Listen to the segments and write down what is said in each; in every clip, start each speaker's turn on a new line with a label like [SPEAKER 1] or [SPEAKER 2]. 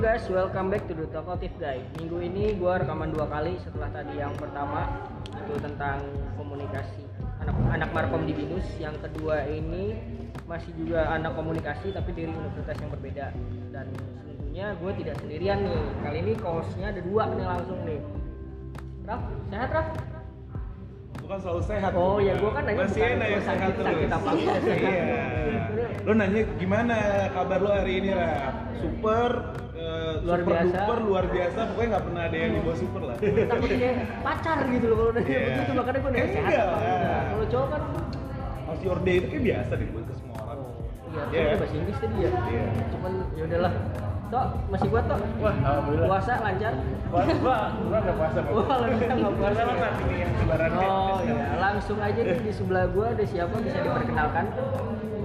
[SPEAKER 1] guys, welcome back to the Talkative Guy. Minggu ini gue rekaman dua kali setelah tadi yang pertama itu tentang komunikasi anak anak markom di binus. Yang kedua ini masih juga anak komunikasi tapi dari universitas yang berbeda dan sesungguhnya gue tidak sendirian nih. Kali ini co-hostnya ada dua nih langsung nih. Raf, sehat Raf?
[SPEAKER 2] bukan kan selalu sehat
[SPEAKER 1] Oh ya, gue kan nanya
[SPEAKER 2] masih
[SPEAKER 1] bukan
[SPEAKER 2] enak
[SPEAKER 1] gua
[SPEAKER 2] yang sehat
[SPEAKER 1] sakit-
[SPEAKER 2] terus
[SPEAKER 1] sakit apa, udah sehat.
[SPEAKER 2] iya lo nanya gimana kabar lo hari ini Raf? super eh,
[SPEAKER 1] Luar
[SPEAKER 2] super
[SPEAKER 1] biasa.
[SPEAKER 2] duper luar biasa pokoknya nggak pernah ada yang di bawah super lah
[SPEAKER 1] Takut kayak pacar gitu loh kalau udah
[SPEAKER 2] Iya.
[SPEAKER 1] begitu makanya gue nanya
[SPEAKER 2] Eh,
[SPEAKER 1] sehat.
[SPEAKER 2] iya.
[SPEAKER 1] apa enggak. Kalau cowok kan
[SPEAKER 2] How's your day itu kayak biasa dibuat ke semua orang
[SPEAKER 1] Iya,
[SPEAKER 2] Iya.
[SPEAKER 1] yeah. bahasa Inggris tadi ya.
[SPEAKER 2] Iya.
[SPEAKER 1] Cuman ya udahlah. Tok, masih kuat tok.
[SPEAKER 3] Wah, alhamdulillah.
[SPEAKER 1] Puasa lancar.
[SPEAKER 3] Wah, gua gua udah puasa Bang.
[SPEAKER 1] Wah, lu kita nggak puasa.
[SPEAKER 2] Karena saat ini yang lebaran
[SPEAKER 1] Oh iya, langsung aja nih di sebelah gua ada siapa bisa diperkenalkan?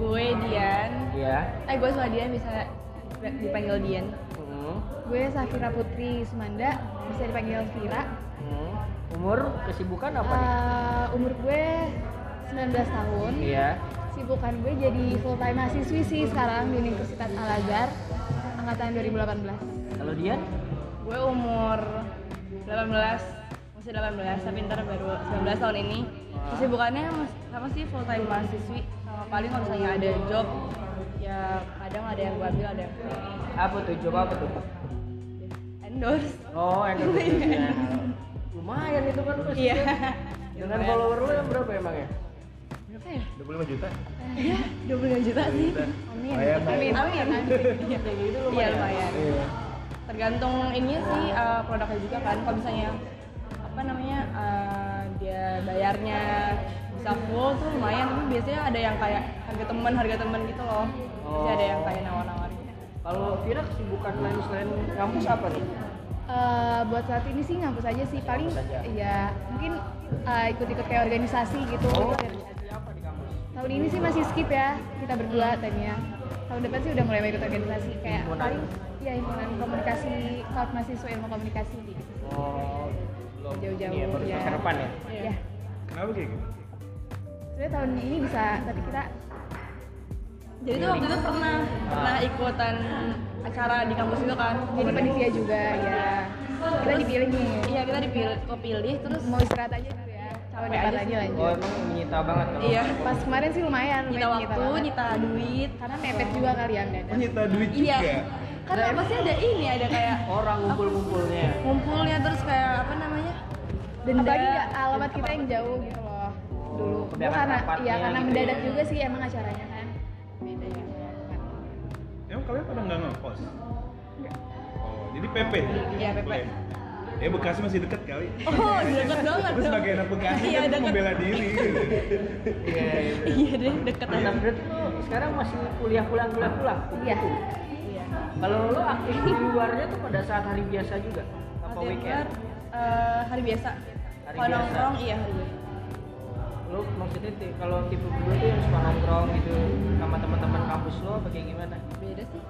[SPEAKER 4] Gue Dian.
[SPEAKER 1] Iya.
[SPEAKER 4] Eh gue sama Dian bisa dipanggil Dian.
[SPEAKER 1] Hmm.
[SPEAKER 4] Gue Safira Putri Sumanda, bisa dipanggil Vira.
[SPEAKER 1] Hmm. Umur kesibukan apa nih?
[SPEAKER 4] Eh, umur gue 19 tahun.
[SPEAKER 1] Iya.
[SPEAKER 4] Sibukan gue jadi full time mahasiswi sih sekarang di Universitas Al Azhar angkatan 2018.
[SPEAKER 1] Kalau Dian?
[SPEAKER 5] Gue umur 18, masih 18, tapi ntar baru 19 tahun ini Kesibukannya mas- sama sih full time mahasiswi Sama paling kalau misalnya ada job Ya kadang ada yang gue ambil, ada yang gue
[SPEAKER 1] Apa tuh? Coba apa tuh?
[SPEAKER 5] endorse
[SPEAKER 1] Oh, endorse. Lumayan itu kan terus.
[SPEAKER 5] Iya
[SPEAKER 1] Dengan follower lu yang berapa emang ya?
[SPEAKER 5] Berapa ya?
[SPEAKER 3] 25 juta.
[SPEAKER 5] 25 juta sih
[SPEAKER 4] Amin.
[SPEAKER 3] Lumayan, Bang.
[SPEAKER 5] Amin, amin
[SPEAKER 1] Yang kayak gitu
[SPEAKER 4] ya.
[SPEAKER 5] Iya
[SPEAKER 1] lumayan.
[SPEAKER 5] lumayan
[SPEAKER 3] Iya.
[SPEAKER 5] Tergantung ininya sih eh, produknya juga kan Kalau misalnya apa namanya eh, dia bayarnya bisa full tuh lumayan tapi biasanya ada yang kayak harga teman harga teman gitu loh
[SPEAKER 1] Oh.
[SPEAKER 5] Bisa ada yang kayak nawar-nawarin
[SPEAKER 4] Iya.
[SPEAKER 1] Kalau Vira kesibukan lain selain kampus apa nih?
[SPEAKER 4] Eh, buat saat ini sih ngampus aja sih paling
[SPEAKER 1] Ngampus aja.
[SPEAKER 4] ya mungkin eh, ikut-ikut kayak organisasi gitu.
[SPEAKER 1] Oh,
[SPEAKER 4] Ikut
[SPEAKER 1] organisasi apa di kampus?
[SPEAKER 4] Tahun ini sih masih skip ya, kita berdua tadinya. Tahun depan sih udah mulai ikut organisasi kayak
[SPEAKER 1] Himpunan.
[SPEAKER 4] paling ya himpunan komunikasi kalau mahasiswa ilmu komunikasi gitu.
[SPEAKER 1] Oh, belum
[SPEAKER 4] Jauh-jauh,
[SPEAKER 1] ini ya, baru
[SPEAKER 4] ya.
[SPEAKER 1] semester depan ya.
[SPEAKER 5] Iya.
[SPEAKER 4] Ya.
[SPEAKER 2] kenapa kayak gitu
[SPEAKER 4] Sebenarnya tahun ini bisa, tapi kita
[SPEAKER 5] Jadi tuh waktu itu pernah pernah ikutan acara di kampus itu kan.
[SPEAKER 4] jadi panitia juga ya. Kita dipilih nih.
[SPEAKER 5] Iya kita dipilih, kepilih terus
[SPEAKER 4] Mau istirahat aja dulu ya. Tahun
[SPEAKER 5] Capek
[SPEAKER 4] depan
[SPEAKER 5] aja
[SPEAKER 4] lagi
[SPEAKER 5] sih.
[SPEAKER 1] Oh,
[SPEAKER 4] lanjut.
[SPEAKER 1] emang menyita banget kalau
[SPEAKER 5] iya
[SPEAKER 4] Pas kemarin sih lumayan,
[SPEAKER 5] nyita
[SPEAKER 4] lumayan
[SPEAKER 5] waktu,
[SPEAKER 4] banget.
[SPEAKER 5] nyita duit.
[SPEAKER 4] Karena mepet juga kali ya mendadak.
[SPEAKER 2] menyita duit
[SPEAKER 5] Iya.
[SPEAKER 2] juga
[SPEAKER 5] Karena pasti ada ini ada kayak
[SPEAKER 1] orang ngumpul-ngumpulnya.
[SPEAKER 5] ngumpulnya terus kayak apa namanya? Denda.
[SPEAKER 4] apalagi nggak alamat kita yang jauh gitu loh dulu Gua
[SPEAKER 1] Kebanyakan
[SPEAKER 4] karena
[SPEAKER 1] rapatnya
[SPEAKER 4] ya karena
[SPEAKER 1] gitu
[SPEAKER 4] mendadak
[SPEAKER 1] ya.
[SPEAKER 4] juga sih emang acaranya kan beda ya
[SPEAKER 2] emang kalian pada nggak ngekos oh jadi PP
[SPEAKER 5] Iya, PP.
[SPEAKER 2] ya Bekasi masih deket kali
[SPEAKER 5] Oh, deket banget
[SPEAKER 2] Terus
[SPEAKER 5] dong.
[SPEAKER 2] sebagai anak Bekasi
[SPEAKER 5] Iya,
[SPEAKER 2] kan lu
[SPEAKER 5] deket.
[SPEAKER 2] membela diri
[SPEAKER 1] Iya, iya.
[SPEAKER 5] Iya deh, deket
[SPEAKER 1] Nah,
[SPEAKER 5] anak.
[SPEAKER 1] berarti lu sekarang masih kuliah pulang-kuliah pulang.
[SPEAKER 4] iya
[SPEAKER 5] Iya.
[SPEAKER 1] Kalau lu aktif di luarnya tuh pada saat hari biasa juga apa
[SPEAKER 5] Waktu itu,
[SPEAKER 1] weekend?
[SPEAKER 5] eh, hari biasa.
[SPEAKER 1] Hari
[SPEAKER 5] Kalau
[SPEAKER 1] biasa.
[SPEAKER 5] nongkrong iya hari biasa.
[SPEAKER 1] Lu maksudnya ti- kalau tipe berdua tuh yang suka nongkrong gitu sama teman-teman kampus lo apa kayak gimana?
[SPEAKER 5] Beda sih.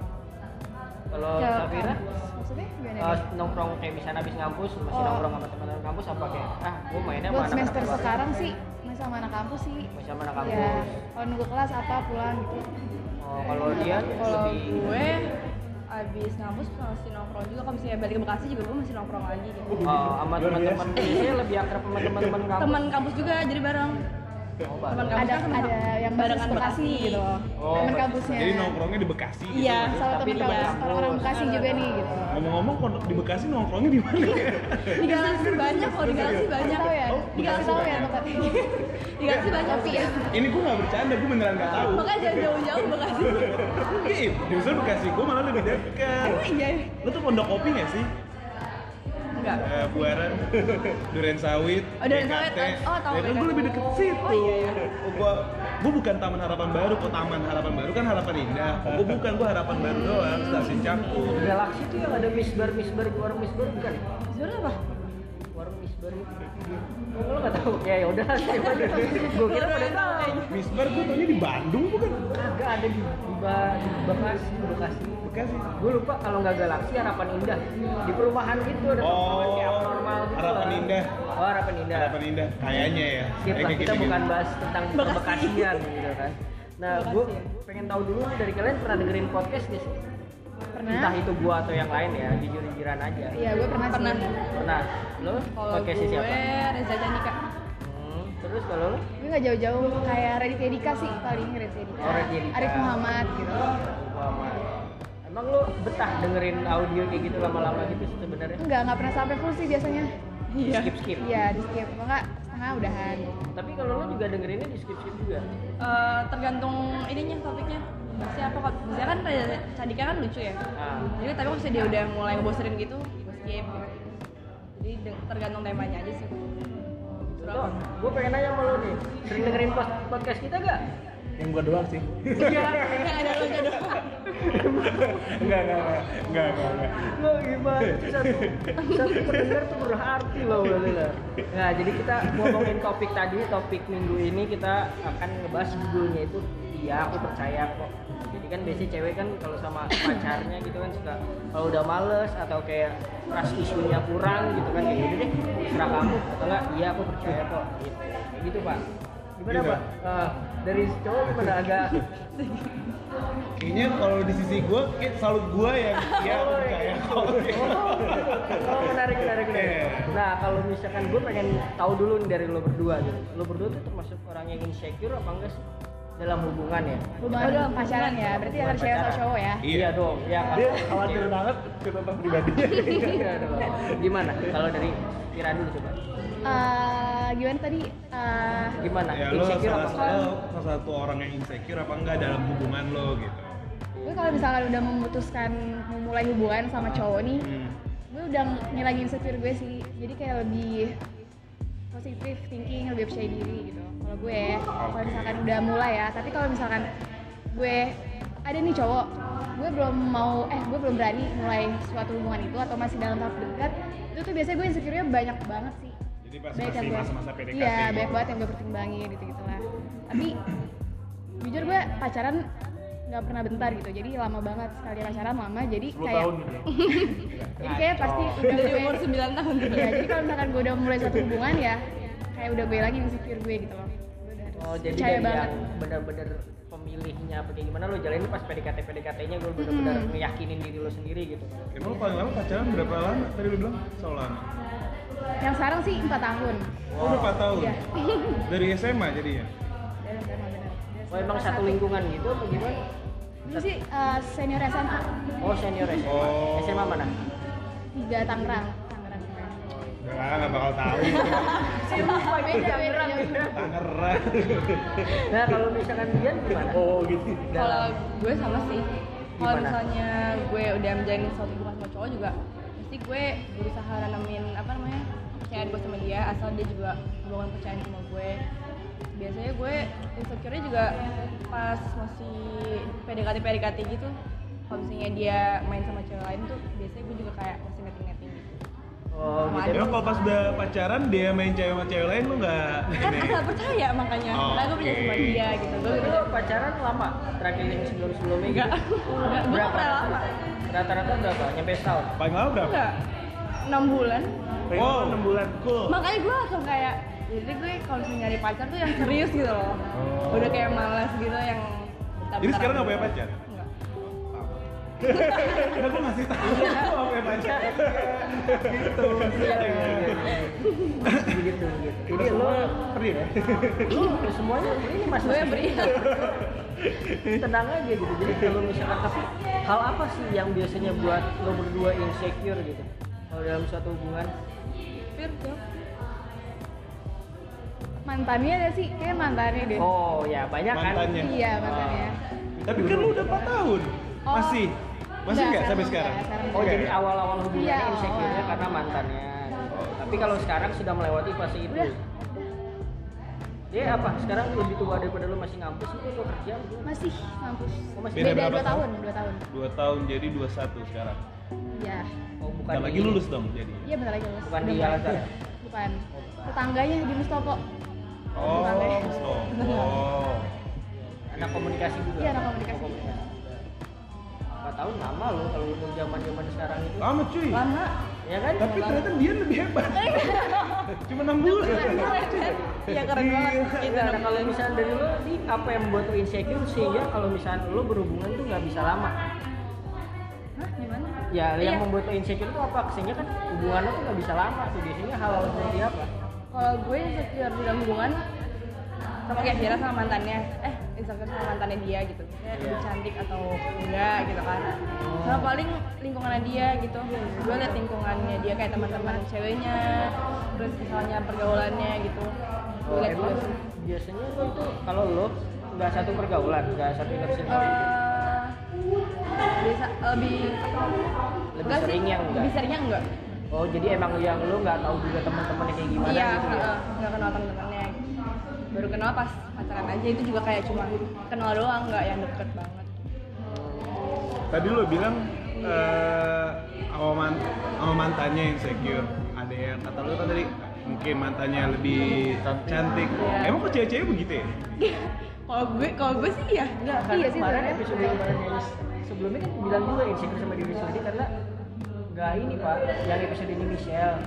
[SPEAKER 1] Kalau
[SPEAKER 4] Ke
[SPEAKER 1] Safira
[SPEAKER 4] Ya, kampus. maksudnya gimana
[SPEAKER 1] eh,
[SPEAKER 4] nih?
[SPEAKER 1] nongkrong kayak misalnya habis ngampus masih
[SPEAKER 4] Oh.
[SPEAKER 1] nongkrong sama teman-teman kampus apa kayak ah gua mainnya sama
[SPEAKER 4] buat
[SPEAKER 1] anak-anak
[SPEAKER 4] semester
[SPEAKER 1] keluarga."
[SPEAKER 4] sekarang sih masih sama anak kampus sih
[SPEAKER 1] masih sama anak
[SPEAKER 4] ya
[SPEAKER 1] kampus.
[SPEAKER 4] kalau nunggu kelas apa pulang gitu
[SPEAKER 1] Oh, kalau dia
[SPEAKER 5] Kalau
[SPEAKER 1] lebih
[SPEAKER 5] gue abis ngampus masih nongkrong juga kalau misalnya balik ke Bekasi juga gue masih nongkrong lagi gitu.
[SPEAKER 1] oh, sama
[SPEAKER 2] Luar biasa.
[SPEAKER 1] teman-teman biasanya lebih akrab sama teman-teman kampus.
[SPEAKER 5] Teman kampus Gitu juga jadi bareng.
[SPEAKER 1] Oh, bareng.
[SPEAKER 5] Teman kampus
[SPEAKER 4] ada
[SPEAKER 5] kan
[SPEAKER 4] ada yang
[SPEAKER 5] barengan
[SPEAKER 4] basis Bekasi gitu loh
[SPEAKER 1] Oh,
[SPEAKER 4] teman
[SPEAKER 1] basis.
[SPEAKER 4] kampusnya
[SPEAKER 2] jadi nongkrongnya di Bekasi gitu.
[SPEAKER 5] Iya,
[SPEAKER 1] Tapi
[SPEAKER 4] sama teman
[SPEAKER 1] di
[SPEAKER 4] kampus
[SPEAKER 1] kampus.
[SPEAKER 4] orang-orang Bekasi juga nih gitu
[SPEAKER 2] Ngomong-ngomong pondok di Bekasi nongkrongnya di mana ya?
[SPEAKER 5] di Galaksi banyak kok, di Galaksi banyak.
[SPEAKER 4] tahu ya
[SPEAKER 2] Oh,
[SPEAKER 4] dikasih tahu ya tempatnya
[SPEAKER 5] Di Galaksi banyak sih.
[SPEAKER 2] Ini gue gak bercanda, gue beneran gak tahu.
[SPEAKER 5] Makanya jangan jauh-jauh Bekasi.
[SPEAKER 2] Iya, justru Bekasi gue malah lebih dekat.
[SPEAKER 5] Iya.
[SPEAKER 2] Lu tuh pondok kopi gak sih?
[SPEAKER 5] Enggak.
[SPEAKER 2] Eh, Buaran, Duren Sawit,
[SPEAKER 5] Oh, Duren Sawit. Oh, tahu
[SPEAKER 2] Ya kan
[SPEAKER 5] BKT.
[SPEAKER 2] gue lebih deket situ.
[SPEAKER 5] Oh, iya, iya.
[SPEAKER 2] Gue gue bukan Taman Harapan Baru, kok Taman Harapan Baru kan Harapan Indah. Gue bukan, gue Harapan Baru doang, stasiun Cangkup.
[SPEAKER 1] Galaksi tuh yang ada misbar misbar warung misbar bukan?
[SPEAKER 5] Sebenarnya apa?
[SPEAKER 1] Warung misbar itu. Oh, lo nggak tahu? Ya ya udah. Gue kira pada tahu.
[SPEAKER 2] Misbar gue taunya di Bandung bukan?
[SPEAKER 1] Kagak ada di di, Ba- di Bekasi, Bekasi.
[SPEAKER 2] Bekasi.
[SPEAKER 1] Gue lupa kalau nggak Galaksi Harapan Indah di perumahan gitu ada
[SPEAKER 2] Oh,
[SPEAKER 1] tongkrongan kayak abnormal gitu.
[SPEAKER 2] Harapan
[SPEAKER 1] lah.
[SPEAKER 2] Indah.
[SPEAKER 1] Oh Harapan Indah.
[SPEAKER 2] Harapan Indah, kayaknya ya.
[SPEAKER 1] Skip lah,
[SPEAKER 2] Kayaknya
[SPEAKER 1] kita
[SPEAKER 2] gitu-gitu.
[SPEAKER 1] bukan bahas tentang kebekasian gitu kan. Nah, gue pengen tahu dulu nih dari kalian pernah dengerin podcast gak sih? entah
[SPEAKER 4] Pernah?
[SPEAKER 1] itu gua atau yang lain ya jujur-jujuran aja
[SPEAKER 4] Iya, gue pernah. sih.
[SPEAKER 5] Pernah.
[SPEAKER 1] pernah lo
[SPEAKER 5] Kalau
[SPEAKER 1] pakai
[SPEAKER 5] gue
[SPEAKER 1] si siapa
[SPEAKER 5] Reza Candika.
[SPEAKER 1] Hmm, terus kalau lo
[SPEAKER 4] Gue nggak jauh-jauh kayak Raditya Dika sih paling Raditya Dika.
[SPEAKER 1] Oh, Raditya Dika.
[SPEAKER 4] Arif Muhammad gitu.
[SPEAKER 1] Muhammad emang lo betah dengerin audio kayak gitu lama-lama gitu sebenarnya
[SPEAKER 4] Enggak, nggak pernah sampai full sih biasanya.
[SPEAKER 5] Iya.
[SPEAKER 1] skip skip
[SPEAKER 4] Iya, di skip. Kalau nggak setengah udahan.
[SPEAKER 1] tapi kalau lo juga dengerinnya di skip skip juga
[SPEAKER 5] Eh, tergantung ininya topiknya. Siapa kok? Biasanya kan Reza Candika kan lucu ya.
[SPEAKER 1] nah,
[SPEAKER 5] Jadi tapi kalau misalnya dia udah mulai ngebosenin gitu, gue skip. Jadi de- tergantung temanya aja sih. Gitu
[SPEAKER 1] Loh, gue gitu pengen nanya sama lo nih, sering dengerin pod- podcast kita gak?
[SPEAKER 3] Yang gua doang sih.
[SPEAKER 5] Iya, yang ada lo jodoh.
[SPEAKER 3] Enggak, enggak, enggak. Enggak, enggak, enggak.
[SPEAKER 1] Lo gimana? Itu satu, satu pendengar tuh berarti loh Lila. Nah, jadi kita ngomongin topik tadi, topik minggu ini kita akan ngebahas judulnya itu Iya, aku percaya kok. Jadi kan biasanya cewek kan kalau sama pacarnya gitu kan suka kalau udah males atau kayak trust isunya kurang gitu kan kayak gitu deh serah kamu atau enggak iya aku percaya kok gitu kayak gitu pak gimana
[SPEAKER 2] Gitu.
[SPEAKER 1] pak Eh, dari cowok gimana agak
[SPEAKER 2] Kayaknya kalau di sisi gue, kayak selalu gue yang ya
[SPEAKER 1] Oh,
[SPEAKER 2] percaya
[SPEAKER 1] iya.
[SPEAKER 2] kok.
[SPEAKER 1] Oh menarik menarik menarik.
[SPEAKER 2] Iya.
[SPEAKER 1] Nah kalau misalkan gue pengen tahu dulu nih dari lo berdua gitu. Lo berdua tuh termasuk orang yang insecure apa enggak sih dalam hubungan ya?
[SPEAKER 4] Hubungan
[SPEAKER 5] Udah,
[SPEAKER 4] pacaran ya, berarti
[SPEAKER 1] hubungan
[SPEAKER 4] harus cewek sama
[SPEAKER 1] pacaran.
[SPEAKER 4] cowok
[SPEAKER 2] Iya.
[SPEAKER 4] ya.
[SPEAKER 1] Iya dong. Ya
[SPEAKER 3] Dia khawatir banget ke tentang pribadinya.
[SPEAKER 1] Iya dong. Gimana? Kalau dari Kira dulu coba.
[SPEAKER 4] Eh, gimana tadi? Eh,
[SPEAKER 1] Gimana?
[SPEAKER 2] ya lo salah, lo salah satu orang yang insecure apa enggak dalam hubungan lo gitu.
[SPEAKER 4] gue kalau misalkan udah memutuskan memulai hubungan sama cowok nih,
[SPEAKER 2] Hmm.
[SPEAKER 4] gue udah ngilangin insecure gue sih. Jadi kayak lebih positif thinking, lebih percaya diri gitu. Kalau gue, kalau misalkan udah mulai ya. Tapi kalau misalkan gue ada nih cowok, gue belum mau, eh gue belum berani mulai suatu hubungan itu atau masih dalam tahap dekat, itu tuh biasanya gue insecure-nya banyak banget sih
[SPEAKER 2] Jadi pas
[SPEAKER 4] banyak yang
[SPEAKER 2] masih
[SPEAKER 4] gue
[SPEAKER 2] masa-masa PDKT.
[SPEAKER 4] iya banyak banget yang gue pertimbangin gitu gitulah tapi jujur gue pacaran nggak pernah bentar gitu jadi lama banget sekali pacaran lama jadi
[SPEAKER 3] 10
[SPEAKER 4] kayak
[SPEAKER 3] tahun gitu.
[SPEAKER 2] ya?
[SPEAKER 4] jadi kayak pasti udah
[SPEAKER 5] Dari
[SPEAKER 4] gue
[SPEAKER 5] umur 9 tahun.
[SPEAKER 4] ya jadi kalau misalkan gue udah mulai satu hubungan ya kayak udah gue lagi insecure gue gitu loh Gue udah harus
[SPEAKER 1] Oh jadi
[SPEAKER 4] percaya
[SPEAKER 1] dari
[SPEAKER 4] banget
[SPEAKER 1] yang benar-benar pemilihnya apa kayak gimana lo jalanin pas PDKT PDKT-nya gue benar-benar
[SPEAKER 4] Mm-mm.
[SPEAKER 1] meyakinin diri lo sendiri gitu.
[SPEAKER 2] Emang lo paling lama pacaran berapa lama? Tadi lu bilang soal lama.
[SPEAKER 4] yang sekarang sih empat tahun
[SPEAKER 2] Oh, udah 4 tahun.
[SPEAKER 4] iya
[SPEAKER 2] Dari SMA jadinya.
[SPEAKER 4] Dan sama benar. Dan
[SPEAKER 1] Oh emang
[SPEAKER 4] kelas
[SPEAKER 1] satu lingkungan gitu atau gimana?
[SPEAKER 4] dulu sih eh, senior SMA
[SPEAKER 1] Oh senior SMA.
[SPEAKER 2] Oh.
[SPEAKER 1] SMA mana?
[SPEAKER 4] tiga Tangerang Tangerang
[SPEAKER 2] Udah lah, nggak bakal tahu.
[SPEAKER 1] Oh,
[SPEAKER 4] beda beda
[SPEAKER 1] ya?
[SPEAKER 4] beda
[SPEAKER 2] Tangerang.
[SPEAKER 1] Nah kalau misalkan Dian gimana?
[SPEAKER 3] Oh, gitu.
[SPEAKER 5] Kalau gue sama sih. Kalau
[SPEAKER 1] Gimana?
[SPEAKER 5] misalnya gue udah menjalin suatu hubungan sama cowok juga, pasti gue berusaha nanamin apa namanya kepercayaan gue sama dia, asal dia juga membangun kepercayaan sama gue. Biasanya gue insecure juga pas masih PDKT PDKT gitu. Kalau misalnya dia main sama cewek lain tuh, biasanya gue juga kayak masih netting netting gitu.
[SPEAKER 1] Oh
[SPEAKER 5] Sama
[SPEAKER 1] gitu.
[SPEAKER 2] Emang kalau pas udah pacaran dia main cewek sama cewek lain lu nggak?
[SPEAKER 5] Kan
[SPEAKER 2] ini?
[SPEAKER 5] asal percaya makanya,
[SPEAKER 2] Oh,
[SPEAKER 5] karena gue percaya sama
[SPEAKER 2] oke.
[SPEAKER 5] dia gitu. Gue
[SPEAKER 1] Lu pacaran lama? Terakhir yang sebelum-sebelumnya
[SPEAKER 5] enggak, enggak, gue gak
[SPEAKER 1] Berapa?
[SPEAKER 5] pernah lama.
[SPEAKER 1] Rata-rata berapa? Nyampe setahun?
[SPEAKER 2] Paling lama berapa?
[SPEAKER 5] Enggak, 6 bulan.
[SPEAKER 2] Wow.
[SPEAKER 3] Wow, 6 bulan. Cool.
[SPEAKER 5] makanya gue langsung kayak jadi gue kalau misalnya nyari pacar tuh yang serius gitu loh
[SPEAKER 2] Oh.
[SPEAKER 5] udah kayak malas gitu yang gitu.
[SPEAKER 2] Jadi sekarang nggak punya pacar?
[SPEAKER 5] Enggak.
[SPEAKER 2] Karena gue ngasih Iya, tahu gue nggak punya pacar. Gitu.
[SPEAKER 5] Iya.
[SPEAKER 1] Iya, Begitu, begitu. Gitu, Jadi Iya, lo,
[SPEAKER 2] Perih ya?
[SPEAKER 1] lo semuanya ini mas
[SPEAKER 5] gue beri
[SPEAKER 1] tenang aja gitu. Jadi kalau misalkan tapi hal apa sih yang biasanya buat lo berdua insecure gitu? Kalau dalam suatu hubungan?
[SPEAKER 5] Fir, jawab.
[SPEAKER 4] mantannya ada sih kayak mantannya deh
[SPEAKER 1] Oh ya banyak kan?
[SPEAKER 2] Mantannya.
[SPEAKER 4] iya mantannya
[SPEAKER 2] Tapi kan lu udah 4 tahun.
[SPEAKER 4] Oh.
[SPEAKER 2] Masih? Masih
[SPEAKER 4] Enggak,
[SPEAKER 2] nggak sampai sekarang?
[SPEAKER 4] sekarang enggak, sekarang
[SPEAKER 1] Oh
[SPEAKER 2] Oke.
[SPEAKER 1] jadi awal-awal hubungannya
[SPEAKER 4] Iya,
[SPEAKER 1] insecure-nya
[SPEAKER 4] awal.
[SPEAKER 1] karena mantannya. Tapi kalau sekarang sudah melewati fase itu.
[SPEAKER 4] Udah.
[SPEAKER 1] Dia apa? Sekarang lebih tua daripada lu masih ngampus itu atau kerja? Lu
[SPEAKER 4] masih mampus
[SPEAKER 1] Oh, masih
[SPEAKER 4] beda,
[SPEAKER 2] Beda
[SPEAKER 4] dua
[SPEAKER 2] berapa
[SPEAKER 4] tahun dua tahun
[SPEAKER 2] 2 tahun jadi 21 sekarang.
[SPEAKER 4] iya
[SPEAKER 1] Oh, bukan
[SPEAKER 2] Bentar lagi
[SPEAKER 1] di-
[SPEAKER 2] lulus dong jadi.
[SPEAKER 4] iya bentar lagi lulus
[SPEAKER 1] Bukan di
[SPEAKER 4] Udah mulai.
[SPEAKER 1] Al-Azhar ya?
[SPEAKER 4] bukan tetangganya di Mustopo
[SPEAKER 2] Oh,
[SPEAKER 4] Bukan deh.
[SPEAKER 2] so. Oh.
[SPEAKER 1] anak komunikasi juga.
[SPEAKER 4] Iya, anak komunikasi.
[SPEAKER 1] Oh, Empat tahun lama lo kalau untuk zaman zaman sekarang itu.
[SPEAKER 2] Lama cuy.
[SPEAKER 5] lama
[SPEAKER 1] Ya kan?
[SPEAKER 2] Tapi ternyata dia lebih hebat. Cuma 6 bulan.
[SPEAKER 5] ya keren banget gitu
[SPEAKER 1] Nah, kalau misalnya dari lo, di apa yang membuat lo insecure sehingga kalau misalnya lo berhubungan tuh nggak bisa lama?
[SPEAKER 5] gimana?
[SPEAKER 1] ya
[SPEAKER 5] Iya.
[SPEAKER 1] yang membuat lo insecure itu apa Kesini kan hubungan lo tuh nggak bisa lama tuh biasanya hal seperti apa
[SPEAKER 5] Kalau gue insecure dalam hubungan sama kayak Vira sama mantannya, eh insecure sama mantannya dia gitu. Kayak
[SPEAKER 1] Iya.
[SPEAKER 5] lebih cantik atau enggak gitu kan.
[SPEAKER 2] Oh.
[SPEAKER 5] Sama paling lingkungannya dia gitu. Gue liat lingkungannya dia kayak teman-teman ceweknya, terus misalnya pergaulannya gitu. Gue
[SPEAKER 1] Oh,
[SPEAKER 5] liat
[SPEAKER 1] emang
[SPEAKER 5] juga sih.
[SPEAKER 1] biasanya lo itu kalau lo nggak satu pergaulan nggak satu
[SPEAKER 5] Oh.
[SPEAKER 1] interseksi
[SPEAKER 5] Eh, bisa lebih
[SPEAKER 1] Lebih
[SPEAKER 5] enggak sih,
[SPEAKER 1] sering yang enggak?
[SPEAKER 5] lebih seringnya enggak
[SPEAKER 1] oh jadi emang yang lo nggak tahu juga teman-temannya kayak gimana
[SPEAKER 5] iya
[SPEAKER 1] gitu ya
[SPEAKER 5] heeh, nggak kenal temen-temennya baru kenal pas pacaran aja itu juga kayak cuma kenal doang nggak yang deket banget
[SPEAKER 2] Tadi lo bilang eh sama man- sama mantannya insecure. Ada yang kata lo kan tadi mungkin mantannya lebih cantik.
[SPEAKER 5] Iya.
[SPEAKER 2] Emang kok cewek-cewek begitu ya?
[SPEAKER 5] kalau gue kalau gue sih iya
[SPEAKER 1] Enggak, kan
[SPEAKER 4] Iya sih,
[SPEAKER 1] kemarin
[SPEAKER 4] sebenarnya.
[SPEAKER 1] episode yang kemarin yang sebelumnya kan bilang juga insecure sama diri sendiri karena nggak ini pak yang episode ini Michelle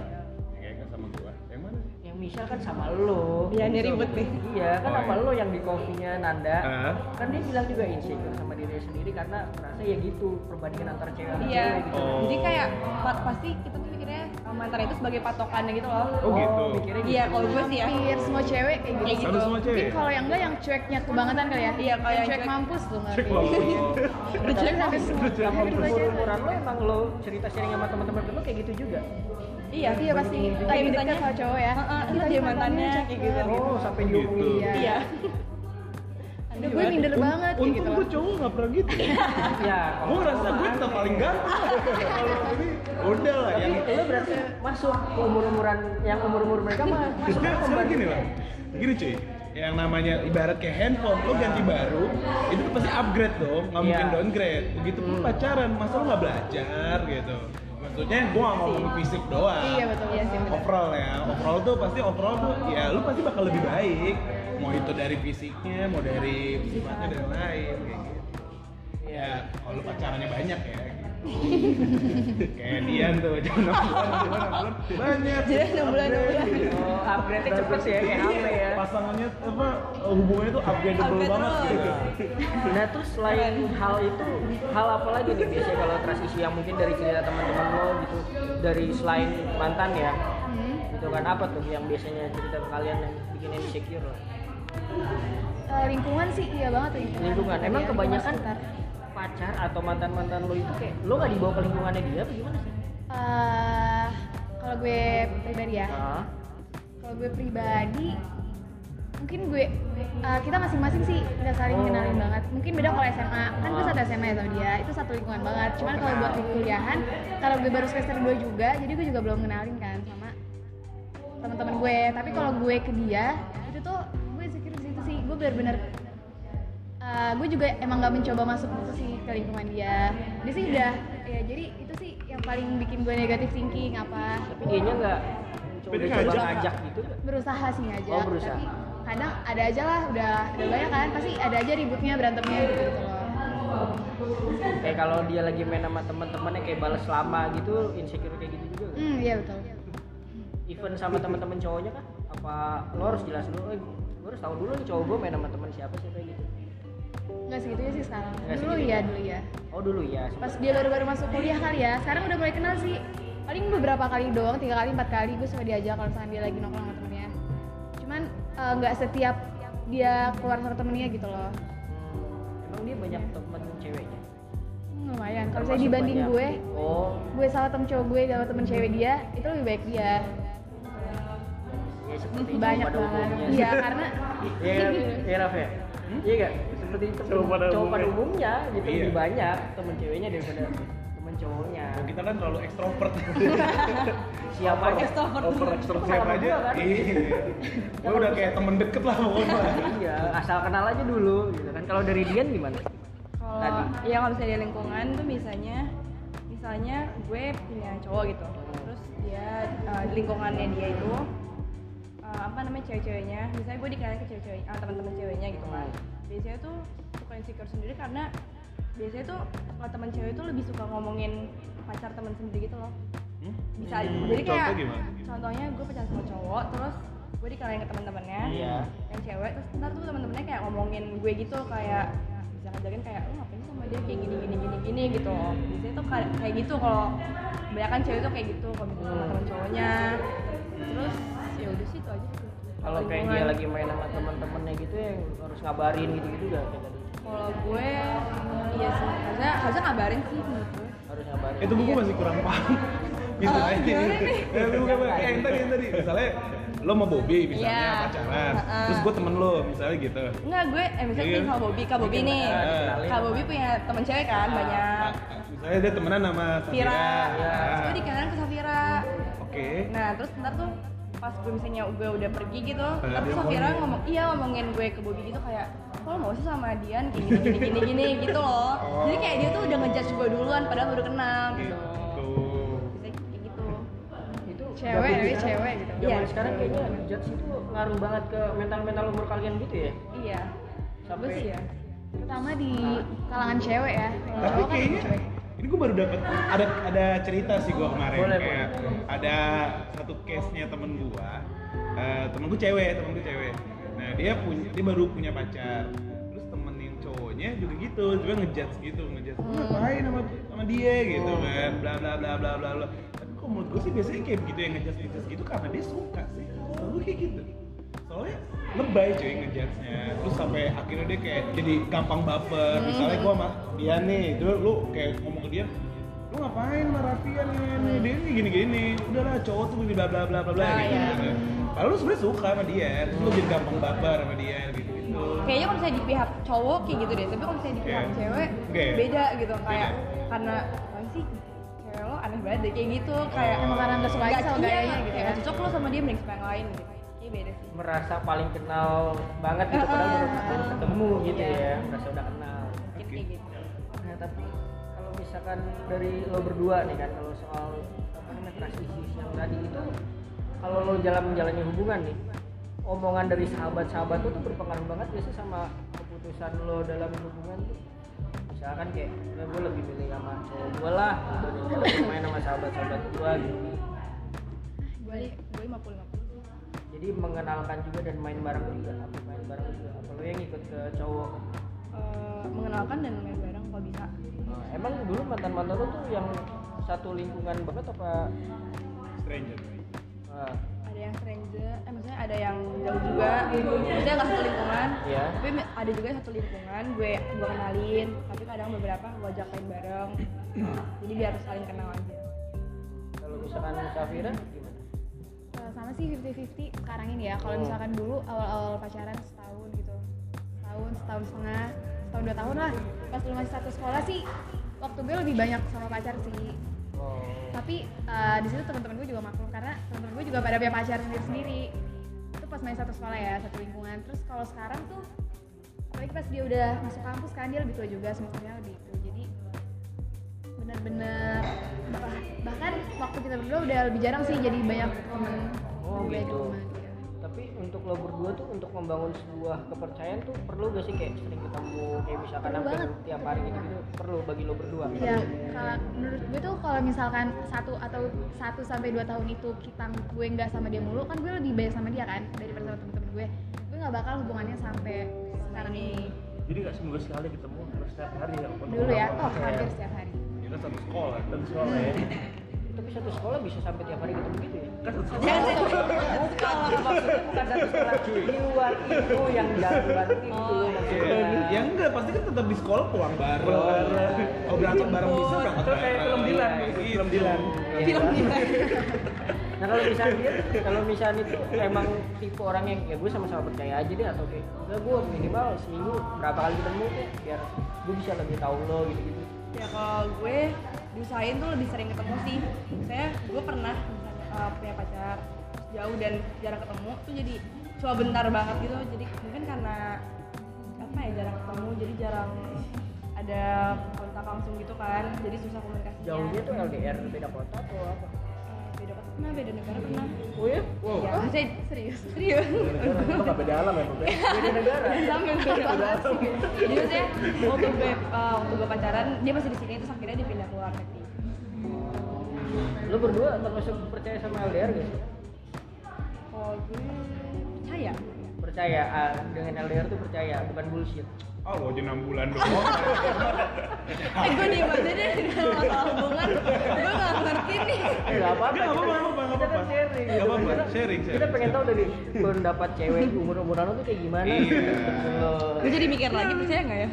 [SPEAKER 2] Kayaknya sama gua. Yang mana?
[SPEAKER 1] yang Michelle kan sama lo
[SPEAKER 5] Iya, ini ribut nih.
[SPEAKER 1] iya kan
[SPEAKER 2] Oh,
[SPEAKER 1] sama
[SPEAKER 2] iya.
[SPEAKER 1] lo yang di kopinya Nanda
[SPEAKER 2] Hah?
[SPEAKER 1] kan dia bilang juga insecure sama diri sendiri karena merasa ya gitu perbandingan antara cewek sama
[SPEAKER 5] iya
[SPEAKER 1] cewek gitu
[SPEAKER 2] Oh.
[SPEAKER 5] jadi kayak pa- pasti kita tuh mikirnya sama mantan itu sebagai patokannya gitu loh
[SPEAKER 2] Oh, gitu.
[SPEAKER 1] mikirnya gitu.
[SPEAKER 5] iya kalau gue sih ya
[SPEAKER 4] hampir semua cewek kayak gitu.
[SPEAKER 5] Kayak gitu.
[SPEAKER 2] Sama semua
[SPEAKER 4] Mungkin
[SPEAKER 2] cewek.
[SPEAKER 4] kalau yang enggak yang cueknya kebangetan kali ya.
[SPEAKER 5] Iya, kalau
[SPEAKER 4] Yang
[SPEAKER 5] yang
[SPEAKER 4] cuek
[SPEAKER 5] cuek-
[SPEAKER 4] mampus tuh nggak.
[SPEAKER 2] Cek Gitu. lo.
[SPEAKER 4] ya? Tapi sampai semua.
[SPEAKER 1] Tapi
[SPEAKER 4] hampir semua
[SPEAKER 1] umur
[SPEAKER 4] cewek.
[SPEAKER 1] umuran lo emang lo cerita sharing sama teman-teman lo kayak gitu juga.
[SPEAKER 5] iya
[SPEAKER 4] Iya pasti
[SPEAKER 5] kayak
[SPEAKER 4] lebih dekat
[SPEAKER 5] misalnya
[SPEAKER 4] sama cowok ya.
[SPEAKER 5] Heeh,
[SPEAKER 4] Kita
[SPEAKER 5] ntar dia mantannya kayak gitu
[SPEAKER 1] Oh sampai diomongin.
[SPEAKER 2] Gitu.
[SPEAKER 1] Iya.
[SPEAKER 5] iya
[SPEAKER 4] Aduh gue ya? minder banget kayak
[SPEAKER 2] Untung
[SPEAKER 4] gitu.
[SPEAKER 2] gua cowok nggak pernah gitu.
[SPEAKER 1] Ya.
[SPEAKER 2] gua ngerasa gua tetap paling ganteng. Kalau ini udah lah yang
[SPEAKER 1] Tapi lo berarti masuk ke umur-umuran yang umur-umur mereka mah masuk
[SPEAKER 2] Maksudnya Iya. sekarang gini lah, gini cuy, yang namanya ibarat kayak handphone, lo ganti baru, itu tuh pasti upgrade dong, nggak
[SPEAKER 1] Iya.
[SPEAKER 2] mungkin downgrade. Begitu pun pacaran, masa lo nggak belajar gitu. Maksudnya gue nggak ngomong fisik doang.
[SPEAKER 4] Iya betul. Iya sih.
[SPEAKER 2] Overall ya, overall tuh pasti overall tuh, ya lo pasti bakal lebih baik. Mau itu dari fisiknya, mau dari sifatnya dan lain kayak gitu. Ya, kalau pacarannya banyak ya. Gitu. kayak Dian tuh, jangan enam bulan, jangan enam bulan, banyak.
[SPEAKER 5] Jadi enam bulan, enam bulan.
[SPEAKER 2] upgrade.
[SPEAKER 1] Oh, upgrade-nya cepet ya, kayak HP ya.
[SPEAKER 2] Pasangannya apa hubungannya tuh upgradeable
[SPEAKER 5] Upgrade
[SPEAKER 2] banget
[SPEAKER 5] terus.
[SPEAKER 2] gitu.
[SPEAKER 1] Nah terus selain hal itu, hal apa lagi nih biasanya kalau transisi yang mungkin dari cerita teman-teman lo gitu, dari selain mantan ya,
[SPEAKER 4] Hmm.
[SPEAKER 1] gitu kan apa tuh yang biasanya cerita ke kalian yang bikin insecure lah?
[SPEAKER 4] Eh, lingkungan sih iya banget lingkungan.
[SPEAKER 1] Lingkungan. Emang
[SPEAKER 4] Iya,
[SPEAKER 1] kebanyakan
[SPEAKER 4] lingkungan sekitar.
[SPEAKER 1] pacar atau mantan-mantan lo itu kayak lo nggak dibawa ke lingkungannya dia apa gimana sih?
[SPEAKER 4] Eh, kalau gue pribadi ya.
[SPEAKER 1] Ah.
[SPEAKER 4] Kalau gue pribadi mungkin gue eh, kita masing-masing sih udah saling
[SPEAKER 1] Oh.
[SPEAKER 4] kenalin banget. Mungkin beda kalau SMA, kan gue satu SMA ya sama dia, itu satu lingkungan banget. Cuman kalau buat di kuliahan, kalau gue baru semester 2 juga, jadi gue juga belum kenalin kan sama teman-teman gue. Tapi kalau gue ke dia, itu tuh gue insecure di situ sih. Gue benar-benar eh, gue juga emang gak mencoba masuk gitu sih ke lingkungan dia. Dia sih udah ya jadi itu sih yang paling bikin gue negatif thinking apa
[SPEAKER 1] Tapi dianya nggak
[SPEAKER 2] Tapi dia
[SPEAKER 1] coba coba
[SPEAKER 2] ngajak.
[SPEAKER 1] ngajak gitu nggak?
[SPEAKER 4] berusaha sih ngajak
[SPEAKER 1] Oh, berusaha.
[SPEAKER 4] tapi kadang ada aja lah udah udah banyak kan pasti ada aja ributnya berantemnya gitu, gitu loh
[SPEAKER 1] kayak kalau dia lagi main sama teman-temannya kayak balas lama gitu insecure kayak gitu juga nggak?
[SPEAKER 4] hmm iya betul Hmm.
[SPEAKER 1] even sama teman-teman cowoknya kan apa lo harus jelas dulu eh gue harus tahu dulu nih cowok gue main sama teman siapa siapa gitu
[SPEAKER 4] nggak segitunya sih sekarang
[SPEAKER 1] Nggak
[SPEAKER 4] dulu
[SPEAKER 1] segitunya.
[SPEAKER 4] ya dulu ya
[SPEAKER 1] oh dulu ya
[SPEAKER 4] pas dia baru-baru masuk kuliah kali ya sekarang udah mulai kenal sih paling beberapa kali doang tiga kali empat kali gue suka diajak kalau misalkan dia lagi nongkrong sama temennya cuman eh, nggak setiap dia keluar sama temennya gitu loh
[SPEAKER 1] Hmm, emang dia banyak teman ceweknya
[SPEAKER 4] Hmm, lumayan kalau saya
[SPEAKER 1] Termasuk
[SPEAKER 4] dibanding
[SPEAKER 1] banyak.
[SPEAKER 4] gue
[SPEAKER 1] oh
[SPEAKER 4] gue salah temen cowok gue sama temen cewek dia itu lebih baik dia
[SPEAKER 1] ya seperti cowok
[SPEAKER 4] banyak
[SPEAKER 1] pada
[SPEAKER 4] banget
[SPEAKER 1] umumnya
[SPEAKER 4] iya karena
[SPEAKER 1] iya kan? iya Raf ya iya gak seperti temen-
[SPEAKER 2] Cowok pada
[SPEAKER 1] cowok
[SPEAKER 2] umumnya.
[SPEAKER 1] pada umumnya gitu
[SPEAKER 2] Iya.
[SPEAKER 1] lebih banyak teman ceweknya daripada teman cowoknya
[SPEAKER 2] Kalau Kita kan terlalu ekstrovert.
[SPEAKER 1] siapa aja
[SPEAKER 2] Over ekstrovert
[SPEAKER 1] Sama
[SPEAKER 2] siapa aja?
[SPEAKER 1] gua kan?
[SPEAKER 2] Iya. Gue udah kayak temen deket lah pokoknya.
[SPEAKER 1] iya asal kenal aja dulu gitu kan kalau dari Dian gimana Tadi.
[SPEAKER 5] kalau ya kalau misalnya di lingkungan tuh misalnya misalnya gue punya cowok gitu terus dia uh, di lingkungannya dia itu uh, apa namanya cewek-ceweknya misalnya gue dikenalin ke cewek-cewek ah, teman-teman ceweknya gitu kan biasanya tuh suka insecure sendiri karena biasanya tuh kalau teman cewek itu lebih suka ngomongin pacar teman sendiri gitu loh
[SPEAKER 2] Hmm?
[SPEAKER 5] bisa
[SPEAKER 2] Hmm,
[SPEAKER 5] jadi kayak
[SPEAKER 2] contoh gimana?
[SPEAKER 5] contohnya gue pacaran sama cowok terus gue dikenalin ke teman-temannya
[SPEAKER 1] Iya.
[SPEAKER 5] yang cewek terus ntar tuh teman-temannya kayak ngomongin gue gitu kayak bisa ngajakin kayak lu ngapain sih sama dia kayak gini gini gini gini gitu biasanya tuh kayak kayak gitu kalau kebanyakan cewek tuh kayak gitu kalau misalnya
[SPEAKER 1] Hmm.
[SPEAKER 5] sama temen cowoknya terus ya udah sih itu aja sih.
[SPEAKER 1] Kalau kayak dia
[SPEAKER 5] Lingkungan.
[SPEAKER 1] lagi main sama teman-temannya gitu yang harus ngabarin gitu-gitu gak kayak tadi.
[SPEAKER 5] kalau gue iya sih harusnya harusnya ngabarin sih menurut gue
[SPEAKER 1] Harus ngabarin.
[SPEAKER 2] itu buku Eh, masih kurang paham gitu
[SPEAKER 5] Oh,
[SPEAKER 2] aja
[SPEAKER 5] gimana
[SPEAKER 2] gitu
[SPEAKER 5] nih?
[SPEAKER 2] Eh, buku apa? kayak yang tadi yang tadi misalnya lo mau Bobby misalnya
[SPEAKER 5] Iya.
[SPEAKER 2] pacaran
[SPEAKER 5] Ha-ha.
[SPEAKER 2] terus gue temen lo misalnya gitu
[SPEAKER 5] Enggak, gue eh misalnya
[SPEAKER 2] Iya.
[SPEAKER 5] yeah. sama Bobby, Kak Bobby nih.
[SPEAKER 1] Iya.
[SPEAKER 2] dikenalin.
[SPEAKER 5] Kak Bobby punya temen cewek kan banyak.
[SPEAKER 2] Nah, misalnya dia temenan sama Safira
[SPEAKER 5] Vira.
[SPEAKER 1] Iya.
[SPEAKER 2] Ya.
[SPEAKER 5] Terus gue dikenalin ke Safira.
[SPEAKER 2] oke
[SPEAKER 5] Nah, terus ntar tuh pas gue misalnya gue udah pergi gitu,
[SPEAKER 2] Padahal
[SPEAKER 5] ntar tuh
[SPEAKER 2] dia
[SPEAKER 5] Safira
[SPEAKER 2] ngomongin.
[SPEAKER 5] ngomong, iya ngomongin gue ke Bobby gitu kayak, kalau mau sih sama Dian kayak gini gini gini, gini gitu loh. Jadi kayak dia tuh
[SPEAKER 2] Oh.
[SPEAKER 5] udah ngejudge gue duluan padahal baru kenal gitu.
[SPEAKER 2] gitu
[SPEAKER 5] Bisa kayak gitu.
[SPEAKER 1] itu
[SPEAKER 4] Cewek,
[SPEAKER 1] zaman
[SPEAKER 4] tapi
[SPEAKER 2] ya?
[SPEAKER 1] sekarang-
[SPEAKER 4] cewek gitu.
[SPEAKER 1] Zaman
[SPEAKER 5] Iya.
[SPEAKER 1] sekarang kayaknya judge itu ngaruh banget ke mental-mental umur kalian gitu ya.
[SPEAKER 5] Iya. Gue
[SPEAKER 1] Sampai-
[SPEAKER 5] sih ya.
[SPEAKER 4] terutama di kalangan cewek ya kalau
[SPEAKER 2] tapi
[SPEAKER 4] cowok kan
[SPEAKER 2] kayaknya
[SPEAKER 4] cuek
[SPEAKER 2] ini gue baru dapat ada ada cerita sih gue kemarin
[SPEAKER 1] Boleh,
[SPEAKER 2] kayak ada satu case nya temen gue Eh temen gue cewek temen gue cewek nah dia punya dia baru punya pacar terus temen yang cowoknya juga gitu juga ngejudge gitu ngejudge "Lu
[SPEAKER 1] Hmm.
[SPEAKER 2] ngapain sama, sama dia gitu kan bla bla bla bla bla bla tapi kalau menurut gue sih biasanya kayak begitu yang ngejudge ngejudge gitu karena dia suka sih selalu kayak gitu soalnya lebay cuy ngejudge-nya terus sampai akhirnya dia kayak jadi gampang baper
[SPEAKER 5] Hmm.
[SPEAKER 2] misalnya gua sama dia nih terus lu kayak ngomong ke dia lu ngapain sama Rafia nih, nih dia nih gini gini udahlah cowok tuh gini bla bla bla bla bla
[SPEAKER 5] Ah,
[SPEAKER 2] gitu,
[SPEAKER 5] iya.
[SPEAKER 2] gitu. Padahal lu sebenarnya suka sama dia, terus lu jadi gampang baper sama dia gitu gitu.
[SPEAKER 5] kayaknya kalau misalnya di pihak cowok kayak gitu deh tapi kalau misalnya di pihak
[SPEAKER 2] Iya.
[SPEAKER 5] cewek
[SPEAKER 2] Oke.
[SPEAKER 5] beda gitu kayak
[SPEAKER 2] Beda.
[SPEAKER 5] karena apa sih cewek lo aneh banget deh kayak gitu kayak
[SPEAKER 2] Emang karena nggak
[SPEAKER 4] suka aja sama
[SPEAKER 5] iya,
[SPEAKER 4] gayanya
[SPEAKER 5] nggak-
[SPEAKER 4] gitu
[SPEAKER 5] kayak
[SPEAKER 4] ya.
[SPEAKER 5] nggak cocok lo sama dia mending sama yang lain gitu kayak beda sih
[SPEAKER 1] merasa paling kenal banget gitu padahal baru baru ketemu gitu
[SPEAKER 5] Iya.
[SPEAKER 1] ya merasa udah kenal
[SPEAKER 5] Mungkin kayak gitu
[SPEAKER 1] nah tapi kalau misalkan dari lo berdua nih kan kalau soal apa namanya trust issues yang tadi itu kalau lo jalan menjalani hubungan nih omongan dari sahabat-sahabat lo tuh berpengaruh banget gak sih sama keputusan lo dalam hubungan tuh misalkan kayak "Ya, gue lebih milih sama cowok gue lah atau gue lebih main sama sahabat-sahabat gue gitu
[SPEAKER 5] gue gue lima puluh lima puluh
[SPEAKER 1] jadi mengenalkan juga dan main bareng juga apa main bareng juga apa lo yang ikut ke cowok
[SPEAKER 5] Eh, mengenalkan dan main bareng kalau bisa
[SPEAKER 1] Nah, emang dulu mantan mantan lo tuh yang satu lingkungan banget apa
[SPEAKER 2] Stranger. right?
[SPEAKER 1] nah,
[SPEAKER 5] ada yang stranger eh maksudnya ada yang jauh juga maksudnya nggak satu lingkungan
[SPEAKER 1] Iya.
[SPEAKER 5] tapi ada juga satu lingkungan gue gue kenalin tapi kadang beberapa gue ajak main bareng jadi biar saling kenal aja
[SPEAKER 1] kalau misalkan Safira gimana
[SPEAKER 4] Eh, sama sih 50-50 sekarang ini ya kalau
[SPEAKER 1] Hmm.
[SPEAKER 4] misalkan dulu awal-awal pacaran setahun gitu setahun setahun setengah setahun dua tahun lah pas lu masih satu sekolah sih waktu gue lebih banyak sama pacar sih
[SPEAKER 1] oh
[SPEAKER 4] tapi eh, di situ teman-teman gue juga maklum karena teman-teman gue juga pada punya pacar sendiri-sendiri itu pas main satu sekolah ya satu lingkungan terus kalau sekarang tuh apalagi pas dia udah masuk kampus kan dia lebih tua juga semesternya lebih tua jadi benar-benar bah- bahkan waktu kita berdua udah lebih jarang sih jadi banyak teman
[SPEAKER 1] Oh,
[SPEAKER 4] Lebih banyak
[SPEAKER 1] gitu.
[SPEAKER 4] teman, iya.
[SPEAKER 1] tapi untuk lo berdua tuh untuk membangun sebuah kepercayaan tuh perlu gak sih kayak sering ketemu kayak misalkan
[SPEAKER 4] Perlu
[SPEAKER 1] hampir
[SPEAKER 4] banget.
[SPEAKER 1] tiap hari gitu gitu perlu bagi lo berdua
[SPEAKER 4] Ya, kalau menurut gue tuh kalau misalkan satu atau satu sampai dua tahun itu kita gue nggak sama dia mulu, kan gue lebih banyak sama dia kan daripada sama temen-temen gue. Gue nggak bakal hubungannya sampai sekarang ini.
[SPEAKER 6] Jadi nggak seminggu sekali ketemu, harus setiap hari ya. untuk
[SPEAKER 4] Dulu ya, oh
[SPEAKER 1] Iya.
[SPEAKER 6] ngobrol.
[SPEAKER 4] hampir setiap hari.
[SPEAKER 2] Kita satu sekolah.
[SPEAKER 6] Dan soalnya ya.
[SPEAKER 1] tapi satu sekolah bisa sampai tiap hari ketemu gitu ya
[SPEAKER 6] Kan satu
[SPEAKER 5] Jangan satu
[SPEAKER 1] sekolah maksudnya bukan satu sekolah di luar itu yang jalan itu
[SPEAKER 5] Oh,
[SPEAKER 1] maksudnya
[SPEAKER 2] Iya. Ya enggak, pasti kan tetap di sekolah pulang bareng.
[SPEAKER 6] Pulang bareng.
[SPEAKER 2] Kalau berangkat bareng bisa berangkat
[SPEAKER 6] Terus kayak film Dilan,
[SPEAKER 2] Gitu.
[SPEAKER 6] film Dilan.
[SPEAKER 1] Iya. Nah kalau misalnya dia, kalau misalnya itu emang tipe orang yang ya gue sama-sama percaya aja deh atau kayak enggak gue minimal seminggu berapa kali ketemu deh biar gue bisa lebih tahu lo gitu-gitu.
[SPEAKER 5] ya kalau gue diusahain tuh lebih sering ketemu sih saya gue pernah uh, punya pacar jauh dan jarang ketemu tuh jadi cuma bentar banget gitu jadi mungkin karena apa ya jarang ketemu jadi jarang ada kontak langsung gitu kan jadi susah komunikasinya
[SPEAKER 1] Jauhnya tuh LDR beda kota atau apa?
[SPEAKER 5] Eh, beda kota pernah beda negara pernah
[SPEAKER 1] Oh ya?
[SPEAKER 2] Wow.
[SPEAKER 5] ya maksudnya
[SPEAKER 4] Serius.
[SPEAKER 5] serius
[SPEAKER 6] Itu nggak beda alam ya, Bang?
[SPEAKER 1] Beda negara.
[SPEAKER 5] sambil beda banget sih jadi maksudnya waktu gue uh, waktu gue pacaran dia masih di sini terus akhirnya dia pindah ke luar negeri
[SPEAKER 1] Lo berdua termasuk percaya sama LDR gak sih?
[SPEAKER 5] kalau Oh, gue percaya
[SPEAKER 1] Percaya ah, dengan LDR tuh percaya, bukan bullshit.
[SPEAKER 3] ah gua aja 6 bulan doang
[SPEAKER 5] eh gue diem aja deh kalau masalah hubungan gue gak ngerti nih
[SPEAKER 1] Enggak Eh, apa-apa.
[SPEAKER 2] Nggak apa-apa, nggak apa-apa, nggak
[SPEAKER 1] Kita kan
[SPEAKER 2] apa-apa.
[SPEAKER 1] sharing.
[SPEAKER 2] Nggak apa-apa,
[SPEAKER 1] Kita-
[SPEAKER 2] sharing,
[SPEAKER 1] Kita
[SPEAKER 2] sharing,
[SPEAKER 1] pengen tahu dari pendapat cewek umur-umuran lo tuh kayak gimana.
[SPEAKER 2] Iya.
[SPEAKER 1] Gitu loh.
[SPEAKER 5] gue jadi mikir lagi percaya nggak ya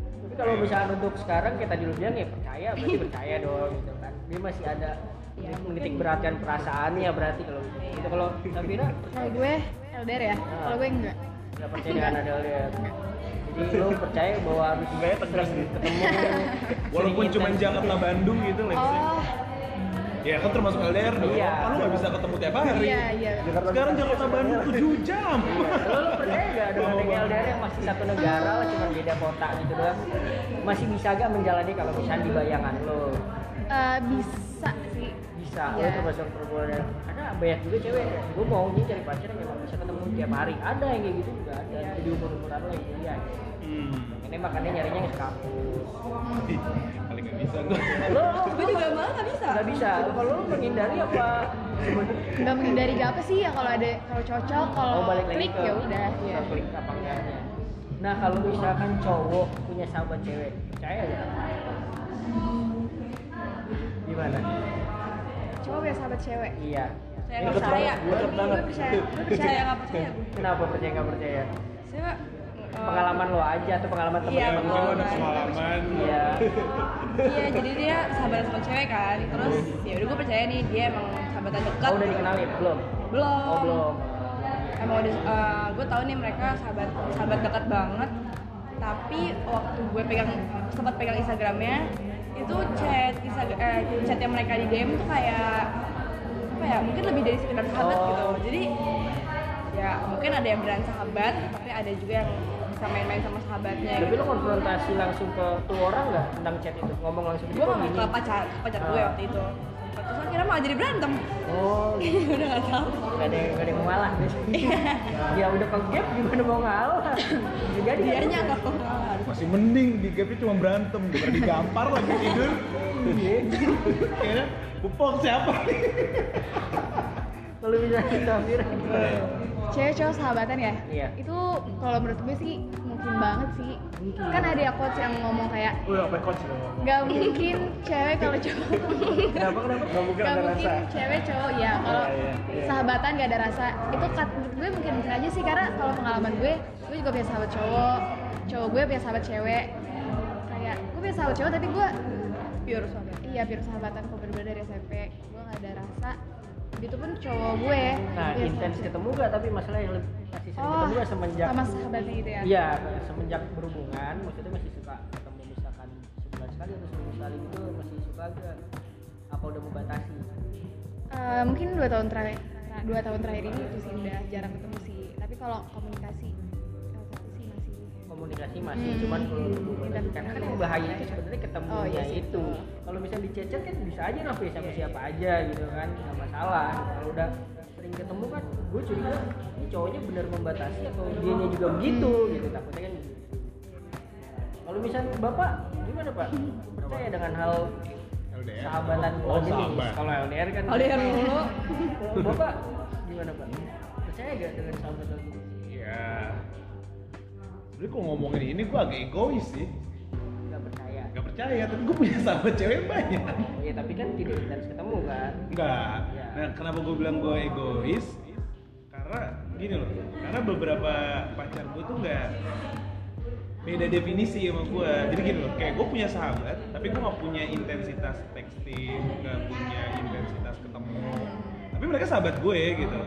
[SPEAKER 1] Tapi kalau misalnya untuk sekarang kayak tadi lu bilang ya percaya, berarti percaya dong gitu kan. Dia masih ada menitik beratkan perasaannya berarti kalau gitu. Itu kalau Safira
[SPEAKER 4] Kalau gue LDR
[SPEAKER 1] Ah.
[SPEAKER 4] ya, kalau gue enggak.
[SPEAKER 1] nggak percaya dengan ada lihat. Jadi lu percaya bahwa harus
[SPEAKER 6] Sebenarnya tegas nih.
[SPEAKER 1] ketemu
[SPEAKER 2] Walaupun
[SPEAKER 1] sering
[SPEAKER 2] cuma
[SPEAKER 1] intens.
[SPEAKER 2] Jakarta Bandung gitu lah.
[SPEAKER 4] Oh,
[SPEAKER 2] Ya kan termasuk LDR dong.
[SPEAKER 1] Iya.
[SPEAKER 2] Kan lu nggak bisa ketemu tiap hari.
[SPEAKER 4] iya iya.
[SPEAKER 6] Jakarta
[SPEAKER 2] Sekarang Jakarta Bandung 7 jam.
[SPEAKER 1] Lo lu percaya gak dengan adanya LDR yang masih satu negara lah cuma beda kota gitu doang masih bisa gak menjalani kalau misalnya di bayangan lo
[SPEAKER 4] Eh, bisa sih.
[SPEAKER 1] bisa lo
[SPEAKER 4] Iya.
[SPEAKER 1] termasuk perempuan yang- karena banyak juga cewek yang, gue maunya cari pacar yang memang bisa ketemu tiap hari ada yang kayak gitu juga ada jadi umur umuran lo yang kuliah
[SPEAKER 4] Hmm.
[SPEAKER 1] ini makanya nyarinya yang sekampus
[SPEAKER 2] Ih, Kali nggak bisa gua.
[SPEAKER 1] lo
[SPEAKER 5] gue juga malah nggak bisa
[SPEAKER 1] nggak bisa kalau lo menghindari apa
[SPEAKER 4] Enggak menghindari gak apa sih ya kalau ada kalau cocok, kalau
[SPEAKER 1] Oh, balik lagi
[SPEAKER 4] klik
[SPEAKER 1] ke-
[SPEAKER 4] ya udah.
[SPEAKER 1] ke
[SPEAKER 4] Iya.
[SPEAKER 1] klik apa enggaknya nah kalau misalkan cowok punya sahabat cewek percaya gak gimana
[SPEAKER 4] Coba punya sahabat cewek.
[SPEAKER 1] iya
[SPEAKER 5] saya nggak percaya
[SPEAKER 6] Gue
[SPEAKER 4] Gue
[SPEAKER 6] banget.
[SPEAKER 4] percaya.
[SPEAKER 5] Gue percaya nggak percaya gue
[SPEAKER 1] kenapa percaya nggak percaya
[SPEAKER 5] saya
[SPEAKER 4] Oh.
[SPEAKER 5] eh,
[SPEAKER 1] pengalaman lo aja atau pengalaman temen
[SPEAKER 5] Iya,
[SPEAKER 3] ya
[SPEAKER 1] lo?
[SPEAKER 3] mungkin lu ada
[SPEAKER 5] pengalaman.
[SPEAKER 3] pengalaman
[SPEAKER 1] iya
[SPEAKER 5] iya jadi dia sahabatan sama cewek kan terus ya udah gue percaya nih dia emang sahabatan dekat
[SPEAKER 1] oh udah dikenalin belum
[SPEAKER 5] belum
[SPEAKER 1] oh belum
[SPEAKER 5] emang udah gue tau nih mereka sahabat sahabat dekat banget tapi waktu gue pegang sempat pegang instagramnya itu chat Instagram eh, chatnya mereka di DM tuh kayak apa ya mungkin lebih dari sekedar sahabat
[SPEAKER 1] Oh.
[SPEAKER 5] gitu jadi ya mungkin ada yang bilang sahabat tapi ada juga yang bisa main-main sama sahabatnya
[SPEAKER 1] tapi
[SPEAKER 5] gitu.
[SPEAKER 1] lo konfrontasi langsung ke tuh orang nggak tentang chat itu ngomong langsung
[SPEAKER 5] gue ngomong
[SPEAKER 1] gini.
[SPEAKER 5] ke pacar ke pacar gue
[SPEAKER 1] Ah.
[SPEAKER 5] waktu itu terus akhirnya malah jadi berantem
[SPEAKER 1] oh gitu.
[SPEAKER 5] udah gak tau
[SPEAKER 1] nggak ada yang nggak ada yang mau ngalah guys. ya udah ke gap gimana mau ngalah jadi
[SPEAKER 5] dia nyangka pengalaman
[SPEAKER 2] Masih mending di gap itu cuma berantem daripada digampar lagi tidur. Iya, Kayaknya pupok siapa nih?
[SPEAKER 1] kalau bisa kita Fira
[SPEAKER 4] Cewek cowok sahabatan ya?
[SPEAKER 1] Iya.
[SPEAKER 4] Itu kalau menurut gue sih mungkin banget sih. Kan ada ya coach yang ngomong kayak
[SPEAKER 6] Gue apa coach lo?
[SPEAKER 4] nggak mungkin cewek kalau cowok
[SPEAKER 6] Kenapa kenapa? Gak mungkin
[SPEAKER 4] Gak
[SPEAKER 6] ada
[SPEAKER 4] mungkin
[SPEAKER 6] rasa.
[SPEAKER 4] cewek cowok ya kalau
[SPEAKER 6] Iya, iya, iya.
[SPEAKER 4] sahabatan gak ada rasa itu kat menurut gue mungkin mungkin aja sih karena kalau pengalaman gue gue juga punya sahabat cowok cowok gue punya sahabat cewek kayak gue punya sahabat cowok tapi gue
[SPEAKER 5] pure sahabat
[SPEAKER 4] iya pure sahabatan kok bener-bener dari SMP gue gak ada rasa begitu pun cowok gue
[SPEAKER 1] Nah,
[SPEAKER 4] punya
[SPEAKER 1] intens
[SPEAKER 4] sahabat
[SPEAKER 1] ketemu gak? Tapi masalah yang lebih masih
[SPEAKER 4] cewek.
[SPEAKER 1] sering ketemu gak semenjak
[SPEAKER 4] Oh, sama sahabatnya gitu ya
[SPEAKER 1] Iya, semenjak berhubungan, maksudnya masih suka ketemu misalkan sebulan sekali atau seminggu sekali gitu masih suka gak? Apa udah membatasi?
[SPEAKER 4] Eh, mungkin dua tahun terakhir nah, dua tahun terakhir ini itu sih udah jarang ketemu sih tapi kalau komunikasi salah satu sih masih
[SPEAKER 1] Komunikasi masih,
[SPEAKER 4] Hmm.
[SPEAKER 1] cuman kalau
[SPEAKER 4] Tidak.
[SPEAKER 1] berhubungan karena kan yang bahaya itu sebenarnya ketemunya
[SPEAKER 4] Oh, iya sih,
[SPEAKER 1] itu.
[SPEAKER 4] betul.
[SPEAKER 1] Kalau misalnya dicecet kan bisa aja ngapain sama siapa aja gitu kan, nggak masalah. Kalau udah sering ketemu kan, gue curiga ini cowoknya bener membatasi atau dianya juga begitu gitu takutnya kan gitu. Kalau misalnya bapak gimana pak? Percaya dengan hal
[SPEAKER 2] LDR.
[SPEAKER 1] sahabatan
[SPEAKER 2] Oh,
[SPEAKER 1] jenis?
[SPEAKER 2] sahabat.
[SPEAKER 1] Kalau LDR kan.
[SPEAKER 5] kalau dia dulu
[SPEAKER 1] Kalau bapak gimana pak? Percaya gak dengan sahabatan jenis?
[SPEAKER 2] Iya. Sebenernya kalau ngomongin ini gue agak egois sih.
[SPEAKER 1] Gak percaya.
[SPEAKER 2] Gak percaya, tapi gue punya sahabat cewek banyak.
[SPEAKER 1] Ya tapi kan tidak harus ketemu kan.
[SPEAKER 2] Enggak.
[SPEAKER 1] Ya.
[SPEAKER 2] Nah, kenapa gue bilang gue egois? Karena gini loh. Karena beberapa pacar gue tuh enggak beda definisi sama gue. Jadi gini loh, kayak gue punya sahabat, tapi gue nggak punya intensitas texting, nggak punya intensitas ketemu. Tapi mereka sahabat gue gitu.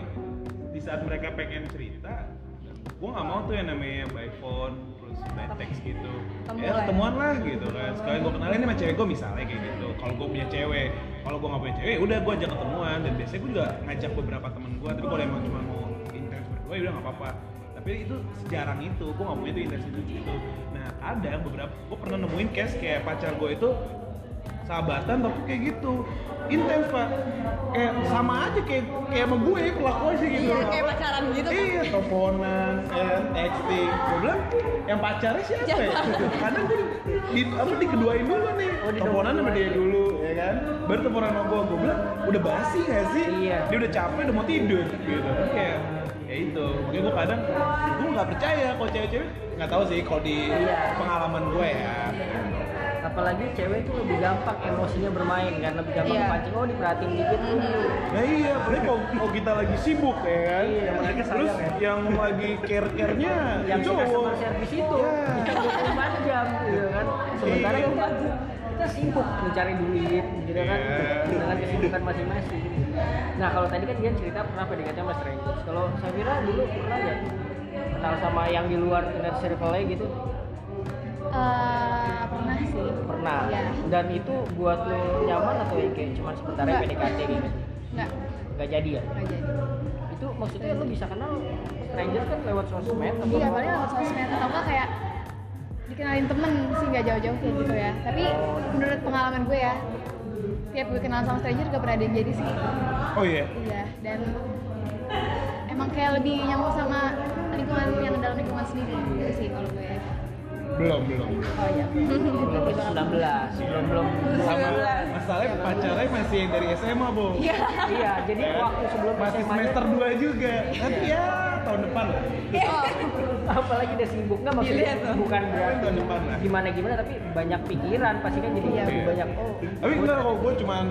[SPEAKER 2] Di saat mereka pengen cerita, gue nggak mau tuh yang namanya by phone terus by text gitu.
[SPEAKER 5] Temuan.
[SPEAKER 2] Ya ketemuan lah gitu kan. Sekalian gue kenalin sama cewek gue misalnya kayak gitu. Kalau gue punya cewek, kalau gue nggak punya cewek, udah gue ajak ketemuan dan biasanya gue juga ngajak beberapa temen gue. Tapi kalau emang cuma mau intens berdua, ya udah nggak apa-apa. Tapi itu sejarang itu, gue nggak punya itu intens itu gitu. Nah ada beberapa, gue pernah nemuin case kayak pacar gue itu sahabatan tapi kayak gitu intens pak kayak sama aja kayak kayak sama gue kelakuannya sih gitu
[SPEAKER 5] Iya, kayak pacaran gitu kan.
[SPEAKER 2] iya teleponan eh, texting gue bilang yang pacarnya siapa ya karena gue di, apa dikeduain dulu nih
[SPEAKER 1] Oh, di-
[SPEAKER 2] teleponan sama dia dulu ya kan baru teleponan sama gue gue bilang udah basi gak sih
[SPEAKER 1] Iya.
[SPEAKER 2] dia udah capek udah mau tidur gitu kayak ya itu makanya gue kadang gue nggak percaya kalau cewek-cewek nggak tahu sih kalau di
[SPEAKER 1] Iya.
[SPEAKER 2] pengalaman gue ya
[SPEAKER 1] apalagi cewek tuh lebih gampang emosinya bermain kan lebih gampang
[SPEAKER 5] Iya.
[SPEAKER 1] pancing oh diperhatiin dikit
[SPEAKER 4] Mhm.
[SPEAKER 2] Nah iya, apalagi kalau, kalau kita lagi sibuk ya kan.
[SPEAKER 1] Iya.
[SPEAKER 2] Yang terus yang lagi care-care-nya
[SPEAKER 1] yang
[SPEAKER 2] itu
[SPEAKER 1] si customer service itu
[SPEAKER 2] Iya.
[SPEAKER 1] kita 24 jam gitu kan sementara
[SPEAKER 2] Iya.
[SPEAKER 1] kita kita sibuk mencari duit gitu kan
[SPEAKER 2] Iya.
[SPEAKER 1] dengan kesibukan masing-masing nah kalau tadi kan dia cerita pernah PDKT sama strangers kalau Safira dulu pernah nggak kenal sama yang di luar inner circle-nya gitu
[SPEAKER 4] Eh, pernah sih
[SPEAKER 1] pernah
[SPEAKER 4] Iya.
[SPEAKER 1] dan itu buat lo nyaman atau ya kayak cuman sebentar aja
[SPEAKER 4] Nggak.
[SPEAKER 1] PDKT gitu
[SPEAKER 4] nggak
[SPEAKER 1] nggak jadi ya
[SPEAKER 4] nggak jadi
[SPEAKER 1] itu maksudnya lo bisa kenal strangers kan lewat sosmed atau
[SPEAKER 4] iya paling lewat sosmed atau nggak kayak dikenalin temen sih nggak jauh-jauh kayak gitu ya tapi
[SPEAKER 1] Oh.
[SPEAKER 4] menurut pengalaman gue ya tiap gue kenal sama stranger gak pernah ada yang jadi sih
[SPEAKER 2] Oh iya.
[SPEAKER 4] iya dan emang kayak lebih nyambung sama lingkungan yang dalam lingkungan sendiri gitu sih kalau gue
[SPEAKER 2] Belum, belum.
[SPEAKER 1] ya?
[SPEAKER 4] oh iya
[SPEAKER 1] Berarti 19 belum belum
[SPEAKER 2] Sama
[SPEAKER 5] 19.
[SPEAKER 2] masalahnya pacarnya masih yang dari SMA, Bu. Iya.
[SPEAKER 1] iya jadi waktu sebelum
[SPEAKER 2] masih
[SPEAKER 1] SMA -nya,
[SPEAKER 2] semester 2 juga. Nanti ya tahun depan lah.
[SPEAKER 1] apalagi udah sibuk nggak
[SPEAKER 2] Iya,
[SPEAKER 1] maksudnya
[SPEAKER 5] Dilihat tuh.
[SPEAKER 1] Iya, bukan berarti
[SPEAKER 2] Tahun depan lah.
[SPEAKER 1] gimana gimana tapi banyak pikiran pasti kan jadi lebih
[SPEAKER 2] Iya.
[SPEAKER 1] banyak oh
[SPEAKER 2] Tapi enggak kalau gue cuman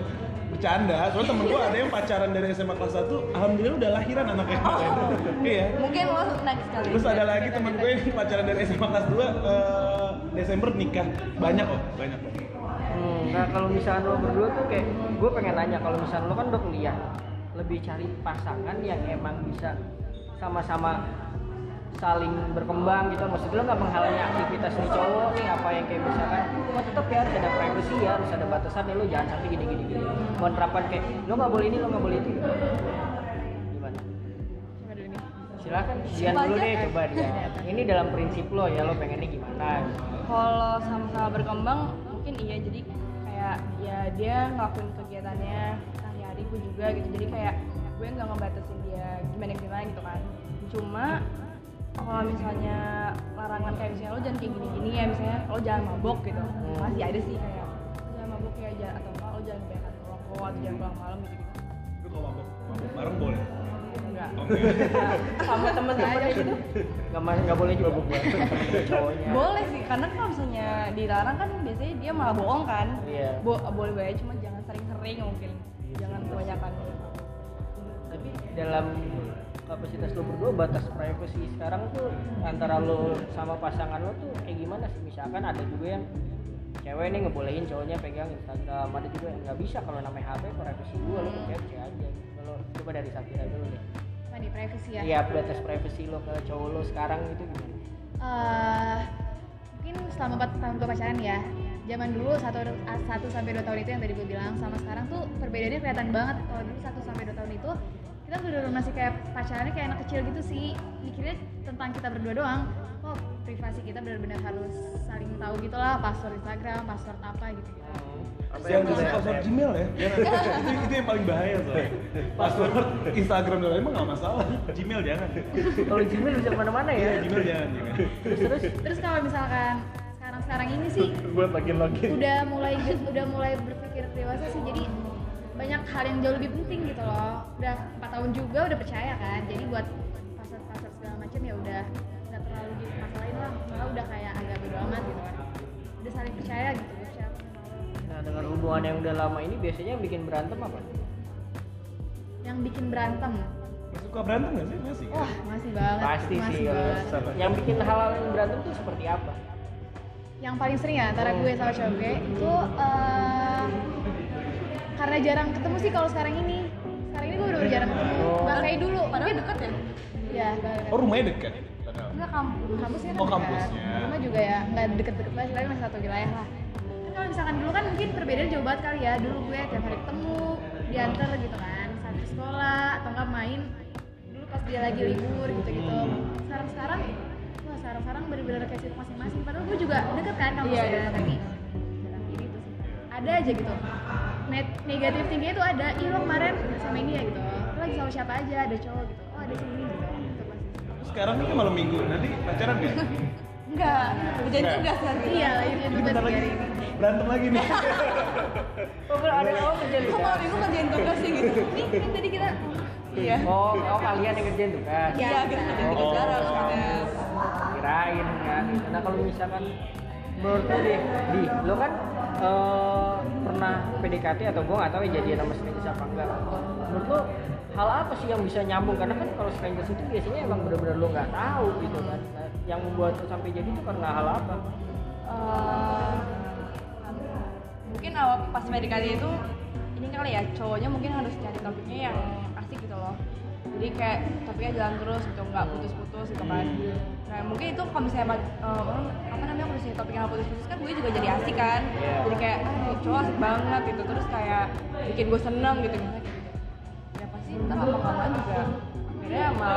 [SPEAKER 2] bercanda, soalnya temen gue ada yang pacaran dari SMA kelas 1, alhamdulillah udah lahiran anaknya kemarin. Iya.
[SPEAKER 5] Mungkin lo next kali.
[SPEAKER 2] Terus ada lagi temen gue yang pacaran dari SMA kelas 2 eh, Desember nikah. Banyak kok, banyak kok.
[SPEAKER 1] hmm, nah kalau misalnya lo berdua tuh kayak gue pengen nanya kalau misalnya lo kan udah kuliah lebih cari pasangan yang emang bisa sama-sama saling berkembang gitu maksudnya lo nggak menghalangi aktivitas nih cowok nih apa yang kayak misalkan lo tetap ya harus ada privacy ya harus ada batasan nih lo jangan sampai gini-gini gini mau terapkan kayak lo nggak boleh ini lo nggak boleh itu gimana
[SPEAKER 4] coba dulu nih
[SPEAKER 1] silakan Dian dulu deh coba dia ini dalam prinsip lo ya lo pengennya gimana
[SPEAKER 5] Kalau sama-sama berkembang, mungkin iya jadi kayak ya dia ngelakuin kegiatannya sehari-hari gue juga gitu. Jadi kayak gue nggak ngebatasin dia gimana gimana gitu kan. Cuma kalau misalnya larangan kayak misalnya lo jangan kayak gini-gini ya misalnya lo jangan mabok gitu
[SPEAKER 2] Hmm.
[SPEAKER 5] masih ada sih kayak "Lo jangan mabok ya jangan atau enggak lo jangan kebanyakan rokok atau jangan pulang malam gitu gitu
[SPEAKER 2] Lu kalau mabok, mabok bareng boleh.
[SPEAKER 5] enggak
[SPEAKER 1] sama temen-temennya gitu nggak ma- nggak boleh juga buku cowoknya
[SPEAKER 5] Boleh sih, karena kan kalau misalnya dilarang kan biasanya dia malah bohong kan.
[SPEAKER 1] Iya.
[SPEAKER 5] Bo- boleh banget, cuma jangan sering-sering mungkin. Jangan kebanyakan.
[SPEAKER 1] tapi dalam kapasitas lo berdua batas privacy sekarang tuh antara lo sama pasangan lo tuh kayak gimana sih misalkan ada juga yang cewek nih ngebolehin cowoknya pegang Instagram ada juga yang nggak bisa kalau namanya HP privacy gue lo ke cewek aja gitu. kalau coba dari Safira dulu deh
[SPEAKER 4] apa nih privacy ya
[SPEAKER 1] iya batas privacy lo ke cowok lo sekarang itu gimana
[SPEAKER 4] Eh, mungkin selama 4 tahun gue pacaran ya zaman dulu satu satu sampai dua tahun itu yang tadi gue bilang sama sekarang tuh perbedaannya kelihatan banget kalau dulu satu sampai dua tahun itu kita bener-bener masih kayak pacarannya kayak anak kecil gitu sih mikirnya tentang kita berdua doang kok privasi kita bener-bener harus saling tahu gitu lah password Instagram password apa gitu gitu
[SPEAKER 2] Jangan kasih password Gmail ya. Jangan. itu, itu yang paling bahaya soalnya. Password Instagram dan lain emang nggak masalah. Gmail jangan.
[SPEAKER 1] kalau Gmail bisa kemana-mana
[SPEAKER 2] Iya,
[SPEAKER 1] ya
[SPEAKER 2] Gmail jangan. Gmail.
[SPEAKER 1] terus terus
[SPEAKER 4] terus kalau misalkan sekarang sekarang ini sih
[SPEAKER 6] Gue login login.
[SPEAKER 4] udah mulai udah mulai berpikir dewasa sih jadi banyak hal yang jauh lebih penting gitu loh udah empat tahun juga udah percaya kan jadi buat pasar pasar segala macam ya udah nggak terlalu dimasalahin lah malah udah kayak agak bodo amat gitu kan udah saling percaya gitu gue percaya apa sama lo.
[SPEAKER 1] nah dengan hubungan yang udah lama ini biasanya yang bikin berantem apa
[SPEAKER 4] yang bikin berantem
[SPEAKER 2] Lu Suka berantem nggak sih? Masih. kan?
[SPEAKER 4] wah masih banget
[SPEAKER 1] pasti
[SPEAKER 4] masih
[SPEAKER 1] sih
[SPEAKER 4] banget
[SPEAKER 1] kalau- yang bikin hal-hal yang berantem tuh seperti apa
[SPEAKER 4] yang paling sering ya antara gue sama cowok gue itu eh, karena jarang ketemu sih kalau sekarang ini sekarang ini gue udah jarang ketemu nggak kayak dulu
[SPEAKER 5] Oh. Padahal deket ya?
[SPEAKER 4] ya banget
[SPEAKER 2] Oh rumahnya dekat. Padahal.
[SPEAKER 5] Enggak kampus.
[SPEAKER 4] kampusnya kan
[SPEAKER 2] Oh,
[SPEAKER 4] dekat.
[SPEAKER 2] kampusnya.
[SPEAKER 4] rumah juga ya nggak deket-deket banget tapi masih satu wilayah lah kan kalau misalkan dulu kan mungkin perbedaan jauh banget kali ya dulu gue tiap hari ketemu diantar gitu kan satu sekolah atau nggak main dulu pas dia lagi libur gitu-gitu sekarang sekarang wah sekarang sekarang bener-bener kayak sibuk masing-masing padahal gue juga deket kan kampusnya
[SPEAKER 5] Iya, iya.
[SPEAKER 4] tapi jarang gitu sih ada aja gitu Net, negatif tinggi itu ada ih lo kemarin sama ini ya gitu lo lagi sama siapa aja ada cowok gitu oh ada sini gitu Itu pasti.
[SPEAKER 2] Terus sekarang ini malam minggu. Nanti pacaran nggak?
[SPEAKER 5] Enggak. Hujan juga kan.
[SPEAKER 4] iya lagi
[SPEAKER 2] Ini
[SPEAKER 4] tiba
[SPEAKER 2] bentar lagi
[SPEAKER 4] hari ini
[SPEAKER 2] berantem lagi nih.
[SPEAKER 1] Oh, ada yang mau kerja
[SPEAKER 5] Kok malam minggu ngerjain tugas sih gitu. Ini kan tadi kita Iya.
[SPEAKER 1] Oh, oh kalian yang ngerjain tugas.
[SPEAKER 5] Iya, kita ada tiga
[SPEAKER 1] Oh.
[SPEAKER 5] jarak soalnya.
[SPEAKER 1] Kirain kan. Nah kalau misalkan menurut lo deh, di lo kan eh, pernah PDKT atau gue nggak tahu ya jadian sama strangers apa enggak. Menurut lo hal apa sih yang bisa nyambung? Karena kan kalau strangers itu biasanya emang bener-bener lo nggak tahu gitu kan. Nah, yang membuat lo sampai jadi itu karena hal apa?
[SPEAKER 5] Eh, mungkin awal pas PDKT itu ini kali ya cowoknya mungkin harus cari topiknya yang asik gitu loh jadi kayak topiknya jalan terus gitu nggak putus-putus gitu kan nah mungkin itu kalau misalnya ma- eh, orang- apa namanya kalau misalnya topik yang nggak putus-putus kan gue juga jadi asik kan
[SPEAKER 1] Iya.
[SPEAKER 5] jadi kayak ah, ini cowok asik banget gitu terus kayak bikin gue seneng gitu misalnya kayak gitu ya pasti ntar lama kelamaan juga akhirnya sama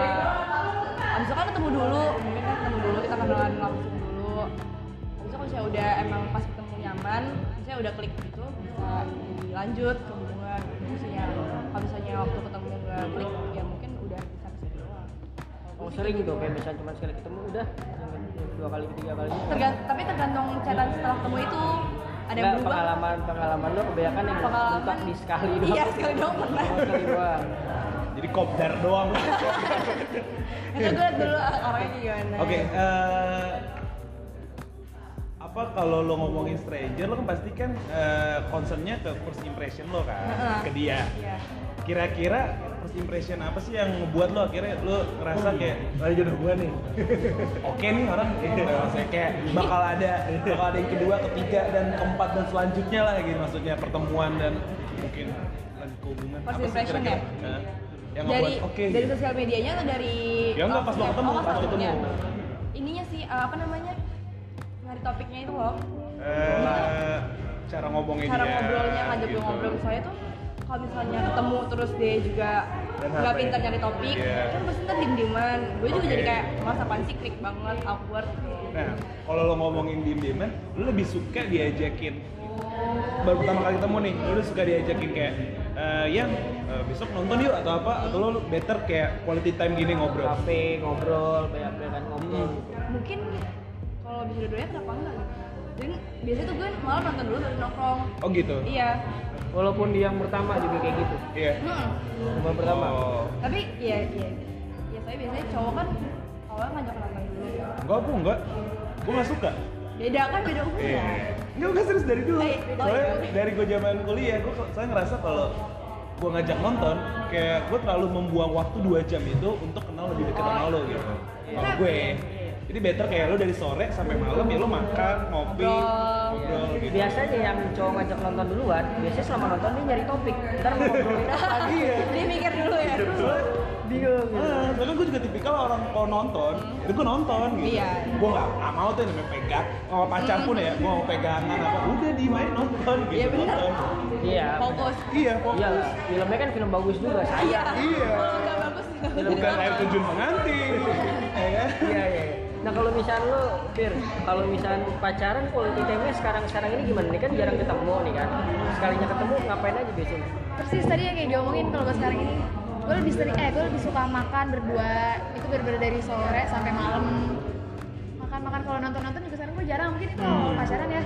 [SPEAKER 5] abis itu kan ketemu dulu mungkin kan ketemu dulu kita kenalan langsung dulu abis itu kalau saya udah emang pas ketemu nyaman saya udah klik gitu bisa lanjut ke hubungan gitu misalnya kalau misalnya waktu ketemu nggak klik ya mungkin udah bisa bisa doang
[SPEAKER 1] Oh sering gitu, kayak misalnya cuma sekali ketemu udah yang yang dua kali ketiga kali.
[SPEAKER 5] Tergan- tapi tergantung catatan setelah ketemu itu ada yang
[SPEAKER 1] Nggak,
[SPEAKER 5] berubah
[SPEAKER 1] pengalaman pengalaman lo kebanyakan yang
[SPEAKER 5] pengalaman
[SPEAKER 1] mentok di sekali doang.
[SPEAKER 5] iya sekali doang pernah
[SPEAKER 1] Oh, sekali doang.
[SPEAKER 2] Jadi kopdar doang.
[SPEAKER 5] itu gue dulu orangnya gimana
[SPEAKER 2] Oke, eh, apa kalau lo ngomongin stranger lo kan pasti kan eh, concernnya ke first impression lo kan,
[SPEAKER 5] Heeh.
[SPEAKER 2] ke dia.
[SPEAKER 5] Iya.
[SPEAKER 2] Kira-kira first impression apa sih yang ngebuat lo akhirnya lo ngerasa kayak
[SPEAKER 6] Lagi jodoh gua nih.
[SPEAKER 2] oke nih orang gitu. maksudnya kayak bakal ada bakal ada yang kedua, ketiga dan keempat dan selanjutnya lah gitu maksudnya pertemuan dan mungkin lanjut ke hubungan.
[SPEAKER 5] First
[SPEAKER 2] Apa sih
[SPEAKER 5] impression
[SPEAKER 2] kira-kira?
[SPEAKER 5] ya?
[SPEAKER 2] Nah, yang
[SPEAKER 5] dari
[SPEAKER 2] ngebuat oke.
[SPEAKER 5] dari
[SPEAKER 2] gitu.
[SPEAKER 5] sosial medianya atau dari
[SPEAKER 2] Ya enggak, pas lo
[SPEAKER 5] langsung-
[SPEAKER 2] ketemu,
[SPEAKER 5] oh,
[SPEAKER 2] pas lo
[SPEAKER 5] langsungnya.
[SPEAKER 2] ketemu.
[SPEAKER 5] ininya sih eh, apa namanya nyari topiknya itu loh
[SPEAKER 2] Eh, cara ngomongin
[SPEAKER 5] cara
[SPEAKER 2] dia,
[SPEAKER 5] ngobrolnya ngajak gue
[SPEAKER 2] Iya. gitu.
[SPEAKER 5] ngobrol soalnya tuh kalau misalnya ketemu terus dia juga
[SPEAKER 2] Dan
[SPEAKER 5] nggak
[SPEAKER 2] apa
[SPEAKER 5] pintar
[SPEAKER 2] ya?
[SPEAKER 5] nyari topik
[SPEAKER 2] Iya.
[SPEAKER 5] kan pasti ntar diem dieman gue juga
[SPEAKER 2] Oke.
[SPEAKER 5] jadi kayak masa apaan sih klik banget awkward
[SPEAKER 2] Nah, kalau lo ngomongin diem-dieman, lo lebih suka diajakin baru pertama kali ketemu nih, lo udah suka diajakin kayak eh yang eh, besok nonton yuk atau apa atau lo better kayak quality time gini ngobrol.
[SPEAKER 1] Kafe ngobrol, banyak banyak ngobrol.
[SPEAKER 5] mungkin kalau bisa dua-duanya kenapa enggak gitu dan biasanya tuh gue malah nonton dulu baru nongkrong
[SPEAKER 2] Oh gitu.
[SPEAKER 5] iya
[SPEAKER 1] Walaupun di yang pertama juga kayak gitu.
[SPEAKER 2] Iya.
[SPEAKER 5] Hmm.
[SPEAKER 1] Yang pertama.
[SPEAKER 2] Oh.
[SPEAKER 5] tapi ya ya ya saya biasanya cowok kan awalnya ngajak nonton dulu
[SPEAKER 2] Enggak, aku enggak. Gue nggak suka.
[SPEAKER 5] beda kan beda umur
[SPEAKER 2] Iya.
[SPEAKER 5] ya
[SPEAKER 2] Enggak, gue serius dari dulu.
[SPEAKER 5] Eh, oh,
[SPEAKER 2] Soalnya
[SPEAKER 5] iya.
[SPEAKER 2] dari gue zaman kuliah, gue saya ngerasa kalau gue ngajak nonton, kayak gue terlalu membuang waktu 2 jam itu untuk kenal lebih dekat sama lo gitu.
[SPEAKER 5] Iya.
[SPEAKER 2] Kalau gue, jadi better kayak lo dari sore sampai malam ya lo makan, ngopi,
[SPEAKER 5] Ngobrol. Iya.
[SPEAKER 2] ngobrol gitu.
[SPEAKER 1] Biasanya yang cowok ngajak nonton duluan, biasanya selama nonton dia nyari topik. Ntar mau ngobrolin apa gitu.
[SPEAKER 5] dia Iya. mikir dulu ya
[SPEAKER 2] Soalnya-
[SPEAKER 1] Bingung.
[SPEAKER 2] Ah, soalnya gue juga tipikal orang kalau nonton, itu gue nonton gitu.
[SPEAKER 5] Iya.
[SPEAKER 2] Gue gak, nggak mau tuh yang namanya pegang, sama pacar pun ya, gue mau pegangan apa, udah dimain nonton gitu.
[SPEAKER 5] Iya, bener.
[SPEAKER 2] nonton.
[SPEAKER 1] Iya.
[SPEAKER 5] fokus
[SPEAKER 2] Iya,
[SPEAKER 1] Iya,
[SPEAKER 2] fokus.
[SPEAKER 1] filmnya kan film bagus juga, sayang.
[SPEAKER 5] iya
[SPEAKER 2] Iya.
[SPEAKER 5] kalau nggak bagus gitu. nggak jadi
[SPEAKER 2] bukan
[SPEAKER 5] nonton.
[SPEAKER 2] air terjun pengantin ya kan?
[SPEAKER 1] Iya, iya. iya. Nah kalau misalnya lo, Fir, kalau misalnya pacaran quality time-nya sekarang-sekarang ini gimana? Ini kan jarang ketemu nih kan. Sekalinya ketemu ngapain aja biasanya?
[SPEAKER 4] persis tadi yang kayak diomongin kalau gue sekarang ini gue lebih sering eh gue lebih suka makan berdua itu bener-bener dari sore sampai malam makan-makan kalau nonton-nonton juga sekarang gue jarang mungkin itu awal pacaran ya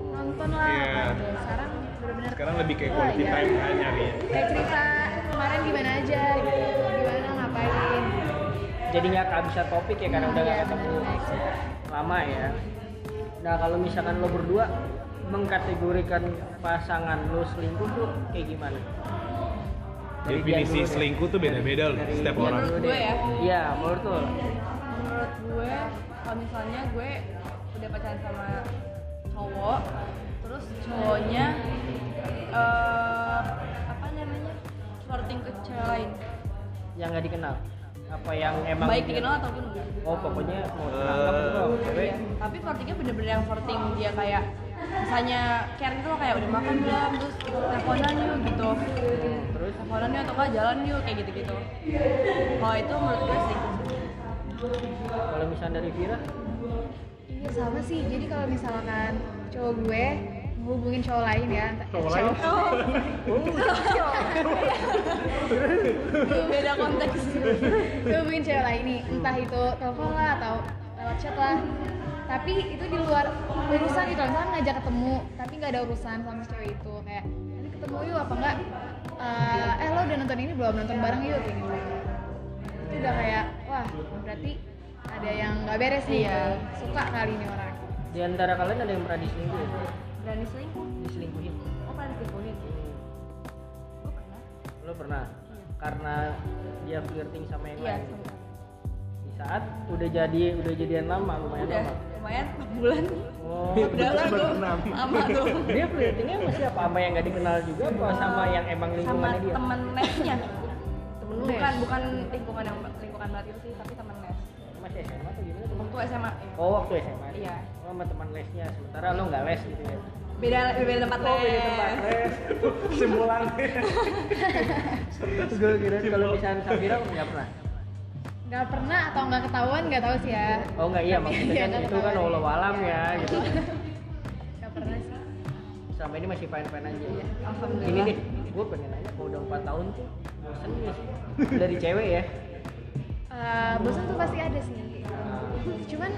[SPEAKER 4] nonton lah
[SPEAKER 2] Hmm. Iya.
[SPEAKER 4] apa gitu. sekarang bener-bener
[SPEAKER 2] sekarang lebih kayak
[SPEAKER 4] wah,
[SPEAKER 2] quality
[SPEAKER 4] iya.
[SPEAKER 2] time kan nyarinya
[SPEAKER 4] kayak cerita kemarin gimana aja gitu gimana ngapain
[SPEAKER 1] Jadi nggak kehabisan topik ya karena udah nggak
[SPEAKER 4] Iya,
[SPEAKER 1] ketemu
[SPEAKER 4] bener-bener.
[SPEAKER 1] lama ya. Nah kalau misalkan lo berdua mengkategorikan pasangan lo selingkuh tuh kayak gimana? Dari
[SPEAKER 2] definisi
[SPEAKER 1] dia dulu deh.
[SPEAKER 2] selingkuh tuh beda-beda loh
[SPEAKER 1] Dari
[SPEAKER 2] setiap
[SPEAKER 1] dia
[SPEAKER 2] orang
[SPEAKER 1] dulu
[SPEAKER 5] Menurut gue
[SPEAKER 1] deh.
[SPEAKER 5] ya.
[SPEAKER 1] Iya, menurut lo.
[SPEAKER 5] menurut gue kalau misalnya gue udah pacaran sama cowok terus cowoknya eh apa namanya flirting ke cewek lain
[SPEAKER 1] yang nggak dikenal apa yang emang
[SPEAKER 5] baik
[SPEAKER 1] dia-
[SPEAKER 5] dikenal ataupun enggak
[SPEAKER 1] oh pokoknya mau ditangkap itu sama cewek
[SPEAKER 5] Iya, tapi flirtingnya bener-bener yang flirting dia kayak misalnya Karen itu loh kayak udah makan belum terus teleponan yuk gitu
[SPEAKER 1] terus
[SPEAKER 5] teleponan yuk atau enggak jalan yuk kayak gitu-gitu kalau itu menurut gue sih
[SPEAKER 1] kalau misalnya dari Vira
[SPEAKER 4] Iya sama sih. Jadi kalau misalkan cowok gue hubungin cowok lain ya, ent-
[SPEAKER 6] Cowok lain?
[SPEAKER 5] beda konteks
[SPEAKER 4] hubungin cewek lain nih, entah itu telepon lah atau lewat chat lah. Tapi itu di luar urusan gitu, misalkan ngajak ketemu, tapi nggak ada urusan sama si cewek itu kayak nanti ketemu yuk apa enggak? eh, eh lo udah nonton ini belum nonton bareng yuk kayak gitu itu udah kayak wah berarti ada yang nggak beres nih ya suka kali ini orang
[SPEAKER 1] Di antara kalian ada yang pernah diselingkuhin?
[SPEAKER 5] berani selingkuh
[SPEAKER 1] Diselingkuhin?
[SPEAKER 5] oh pernah diselingkuhin gue pernah
[SPEAKER 1] Lo pernah? Karena dia flirting sama yang
[SPEAKER 5] iya
[SPEAKER 1] lain. Di saat udah jadi udah jadian lama lumayan
[SPEAKER 5] udah
[SPEAKER 1] lama.
[SPEAKER 5] lumayan 4 bulan
[SPEAKER 1] Oh.
[SPEAKER 5] udah lah
[SPEAKER 2] baru
[SPEAKER 5] gue
[SPEAKER 2] enam.
[SPEAKER 5] sama tuh
[SPEAKER 1] dia flirtingnya sama siapa? Sama yang gak dikenal juga apa sama yang emang
[SPEAKER 5] sama
[SPEAKER 1] lingkungannya dia?
[SPEAKER 5] temen mesnya
[SPEAKER 1] Temen
[SPEAKER 5] bukan bukan lingkungan yang lingkungan banget itu sih tapi temen mes
[SPEAKER 1] Masih SMA atau gimana? temen?
[SPEAKER 5] waktu SMA
[SPEAKER 1] Oh waktu SMA?
[SPEAKER 5] Iya.
[SPEAKER 1] Oh sama teman lesnya, sementara lo gak les gitu ya?
[SPEAKER 5] beda beda tempat
[SPEAKER 1] Oh, beda
[SPEAKER 5] les.
[SPEAKER 1] tempat les.
[SPEAKER 6] Simpulannya.
[SPEAKER 1] Terus gue kira kalau misalnya Safira nggak pernah?
[SPEAKER 4] nggak pernah atau nggak ketahuan nggak tahu sih ya
[SPEAKER 1] Oh nggak iya
[SPEAKER 4] Iya,
[SPEAKER 1] maksudnya kan
[SPEAKER 4] nggak
[SPEAKER 1] itu kan
[SPEAKER 4] ketahuan.
[SPEAKER 1] Allah alam ya gitu.
[SPEAKER 4] nggak pernah sih
[SPEAKER 1] Selama ini masih fine-fine aja. ya. Ini
[SPEAKER 5] alhamdulillah
[SPEAKER 1] deh, gue pengen nanya kalau udah 4 tahun tuh bosan gak sih? Dari cewek ya?
[SPEAKER 4] Eh, bosan tuh pasti ada sih cuman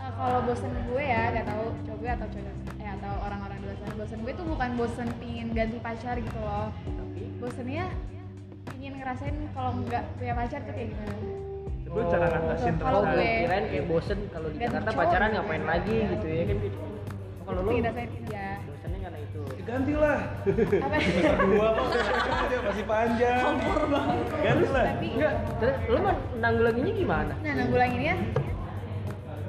[SPEAKER 4] eh, kalau bosan gue ya nggak tahu cowok gue atau cowok eh atau orang-orang di luar sana bosan gue tuh bukan bosan pingin ganti pacar gitu loh bosannya ingin ngerasain kalau nggak punya pacar tuh kayak gimana
[SPEAKER 6] Itu cara ngatasin
[SPEAKER 4] Oh.
[SPEAKER 6] terus.
[SPEAKER 4] Kalau
[SPEAKER 1] Kalau gue
[SPEAKER 4] gue-
[SPEAKER 1] kirain kayak bosen kalau di
[SPEAKER 4] Ganti
[SPEAKER 1] Jakarta
[SPEAKER 4] cowok
[SPEAKER 1] pacaran
[SPEAKER 4] gitu
[SPEAKER 1] ngapain
[SPEAKER 4] ya.
[SPEAKER 1] lagi gitu ya kan gitu. Oh, Kalau lo
[SPEAKER 4] ingin ngerasain ya
[SPEAKER 1] bosannya karena itu.
[SPEAKER 6] Ganti lah.
[SPEAKER 4] apa
[SPEAKER 6] Dua kok. Dia masih panjang. Kompor banget.
[SPEAKER 2] Kan
[SPEAKER 6] Ganti lah.
[SPEAKER 4] tapi
[SPEAKER 1] Enggak, terus lo mah nanggulanginnya gimana?
[SPEAKER 4] nah nanggulang ini ya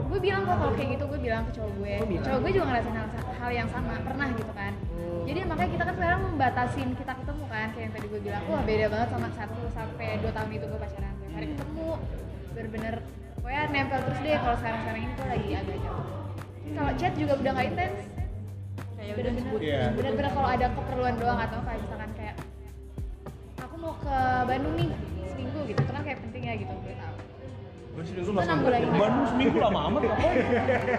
[SPEAKER 4] gue bilang kok kalau kayak gitu gue bilang ke cowok gue
[SPEAKER 1] Oh, bilang.
[SPEAKER 4] cowok gue juga ngerasain hal, hal yang sama pernah gitu kan
[SPEAKER 1] Hmm.
[SPEAKER 4] jadi makanya kita kan sekarang membatasin kita ketemu kan kayak yang tadi gue bilang wah beda banget sama satu sampai dua tahun itu gue pacaran tiap
[SPEAKER 1] Hmm.
[SPEAKER 4] hari ketemu bener-bener pokoknya nempel terus deh kalau sekarang sekarang ini tuh lagi agak jauh Terus kalau chat juga udah nggak intens
[SPEAKER 5] kayak Ya udah
[SPEAKER 4] bener-bener
[SPEAKER 2] Iya.
[SPEAKER 4] bener-bener kalau ada keperluan doang atau kayak misalkan kayak aku mau ke Bandung nih seminggu gitu itu kan kayak penting ya gitu gue tahu
[SPEAKER 2] Gue seminggu
[SPEAKER 4] Itu
[SPEAKER 2] langsung
[SPEAKER 4] nanggulanginnya.
[SPEAKER 2] ke Bandung seminggu lama amat ngapain?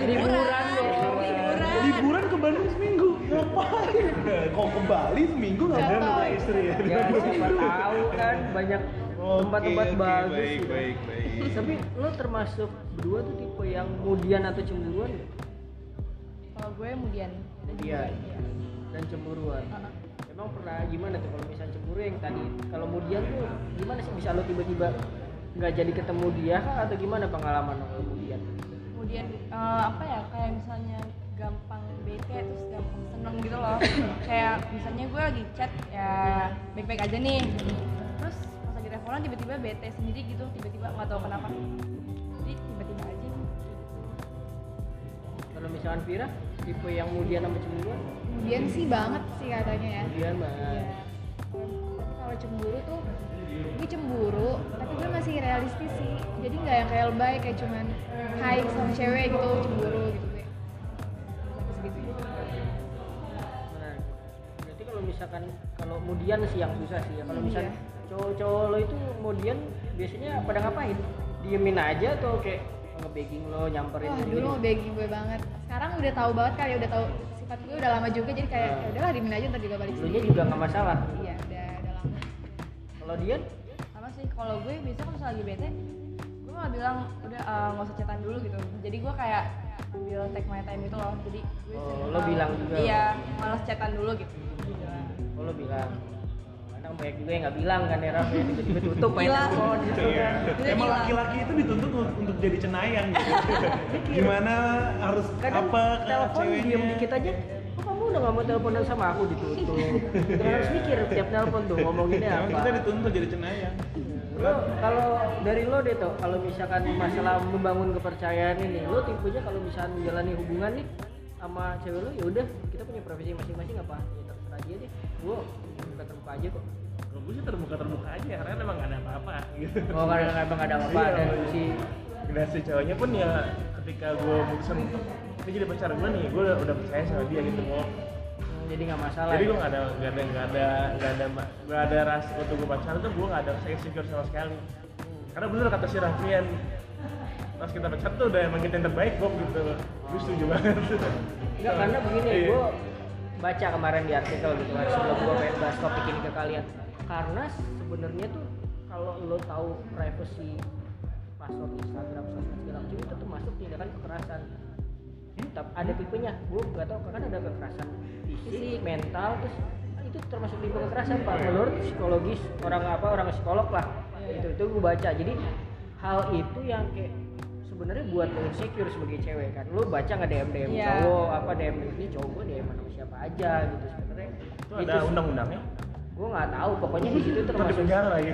[SPEAKER 5] liburan liburan
[SPEAKER 2] Liburan ke Bandung seminggu ngapain? Kalau ke Bali seminggu
[SPEAKER 4] Contoh,
[SPEAKER 2] ngapain?
[SPEAKER 6] Istri ya.
[SPEAKER 1] Ya siapa tahu kan banyak tempat-tempat
[SPEAKER 2] Oke, oke,
[SPEAKER 1] bagus.
[SPEAKER 2] Baik,
[SPEAKER 1] gitu.
[SPEAKER 2] baik, baik.
[SPEAKER 1] Tapi lo termasuk berdua tuh tipe yang mudian atau cemburuan nggak?
[SPEAKER 5] kalau gue kemudian
[SPEAKER 1] Mudian dan cemburuan. Emang pernah gimana tuh kalau misalnya cemburu yang tadi kalau mudian tuh gimana sih bisa lo tiba-tiba nggak jadi ketemu dia kah atau gimana pengalaman lo kalau mudian?
[SPEAKER 5] kemudian eh, apa ya kayak misalnya gampang bete terus gampang seneng gitu loh kayak misalnya gue lagi chat ya baik-baik aja nih terus pas lagi teleponan tiba-tiba bete sendiri gitu tiba-tiba nggak tahu kenapa jadi tiba-tiba aja
[SPEAKER 1] Kalau misalkan Vira tipe yang mudian sama cemburuan? Iya,
[SPEAKER 4] kemudian sih banget sih katanya ya
[SPEAKER 1] Mudian banget.
[SPEAKER 4] Tapi kalau cemburu tuh gue cemburu tapi gue masih realistis sih jadi nggak yang kayak lebay kayak cuman hai sama cewek gitu cemburu gitu gue Sampai segitu
[SPEAKER 1] Nah, berarti kalau misalkan kalau mudian sih yang susah sih ya. Kalau
[SPEAKER 4] Hmm,
[SPEAKER 1] misalkan
[SPEAKER 4] iya.
[SPEAKER 1] cowok-cowok lo itu mudian biasanya pada ngapain? Diemin aja atau kayak nge-begging lo, nyamperin
[SPEAKER 4] wah
[SPEAKER 1] gitu?
[SPEAKER 4] dulu begging gue banget sekarang udah tahu banget kali ya, udah tahu sifat gue udah lama juga jadi kayak ya udahlah dimin aja ntar juga balik
[SPEAKER 1] Dulunya
[SPEAKER 4] sendiri
[SPEAKER 1] juga nggak masalah.
[SPEAKER 4] iya udah udah lama
[SPEAKER 1] Kalau dia
[SPEAKER 5] apa sih kalau gue biasanya kalau misalnya lagi bete gue malah bilang udah eh, nggak usah chatan dulu gitu jadi gue kayak ambil take my time gitu loh jadi gue
[SPEAKER 1] Oh,
[SPEAKER 5] sering,
[SPEAKER 1] lo
[SPEAKER 5] eh,
[SPEAKER 1] bilang juga.
[SPEAKER 5] iya malas chatan dulu gitu Iya.
[SPEAKER 1] oh, lo bilang kadang banyak juga yang nggak bilang kan ya Raf ya tiba-tiba tutup main
[SPEAKER 5] Hilang.
[SPEAKER 1] telepon gitu
[SPEAKER 2] Iya.
[SPEAKER 1] kan.
[SPEAKER 2] Emang
[SPEAKER 5] Jadi hilang.
[SPEAKER 2] laki-laki itu dituntut un- untuk jadi cenayang gitu. Gimana harus
[SPEAKER 1] Kadang
[SPEAKER 2] apa ke
[SPEAKER 1] telepon
[SPEAKER 2] ceweknya?
[SPEAKER 1] diem dikit aja kok kamu udah nggak mau teleponan sama aku ditutup Kita harus mikir tiap telepon tuh ngomonginnya
[SPEAKER 2] Emang
[SPEAKER 1] apa
[SPEAKER 2] Iya, kita dituntut jadi cenayang.
[SPEAKER 1] Lo kalau dari lo deh tuh, kalau misalkan masalah membangun kepercayaan ini, lo tipenya kalau misalkan menjalani hubungan nih sama cewek lo, ya udah kita punya profesi masing-masing apa? Ya terserah dia deh. Gue buka terbuka aja kok.
[SPEAKER 6] Kalau gue sih terbuka-terbuka aja ya, karena emang gak ada apa-apa gitu.
[SPEAKER 1] Oh karena emang gak ada apa-apa
[SPEAKER 6] Iya.
[SPEAKER 1] dan si
[SPEAKER 6] Nah si cowoknya pun ya ketika gue mutusin dia jadi pacar gue nih, gue udah, udah percaya sama dia gitu mau.
[SPEAKER 1] hmm, jadi nggak masalah.
[SPEAKER 6] Jadi
[SPEAKER 1] ya.
[SPEAKER 6] gue nggak ada nggak ada nggak ada nggak ada nggak ada ras waktu gue pacaran tuh gue nggak ada rasa insecure sama sekali. Karena bener kata si Raffian, pas kita pacaran tuh udah emang kita yang terbaik Bob gitu. Gue setuju banget.
[SPEAKER 1] Enggak karena begini,
[SPEAKER 6] Iya.
[SPEAKER 1] gue baca kemarin di artikel gitu kan sebelum gue pengen bahas topik ini ke kalian. Karena sebenarnya tuh kalau lo tahu privacy password Instagram sosmed segala macam itu termasuk tindakan kekerasan. Tapi ada tipenya, gue nggak tahu kan ada kekerasan fisik, mental, terus itu termasuk tipe kekerasan pak menurut psikologis orang apa orang psikolog lah itu itu gue baca jadi hal itu yang kayak sebenarnya buat lo insecure sebagai cewek kan lo baca nggak DM DM
[SPEAKER 5] Iya.
[SPEAKER 1] cowok apa DM ini cowok gue DM sama siapa aja gitu sebenarnya
[SPEAKER 6] Itu ada undang-undangnya.
[SPEAKER 1] gue nggak tahu pokoknya di situ
[SPEAKER 6] Itu di
[SPEAKER 1] termasuk
[SPEAKER 6] penjara ya. lagi.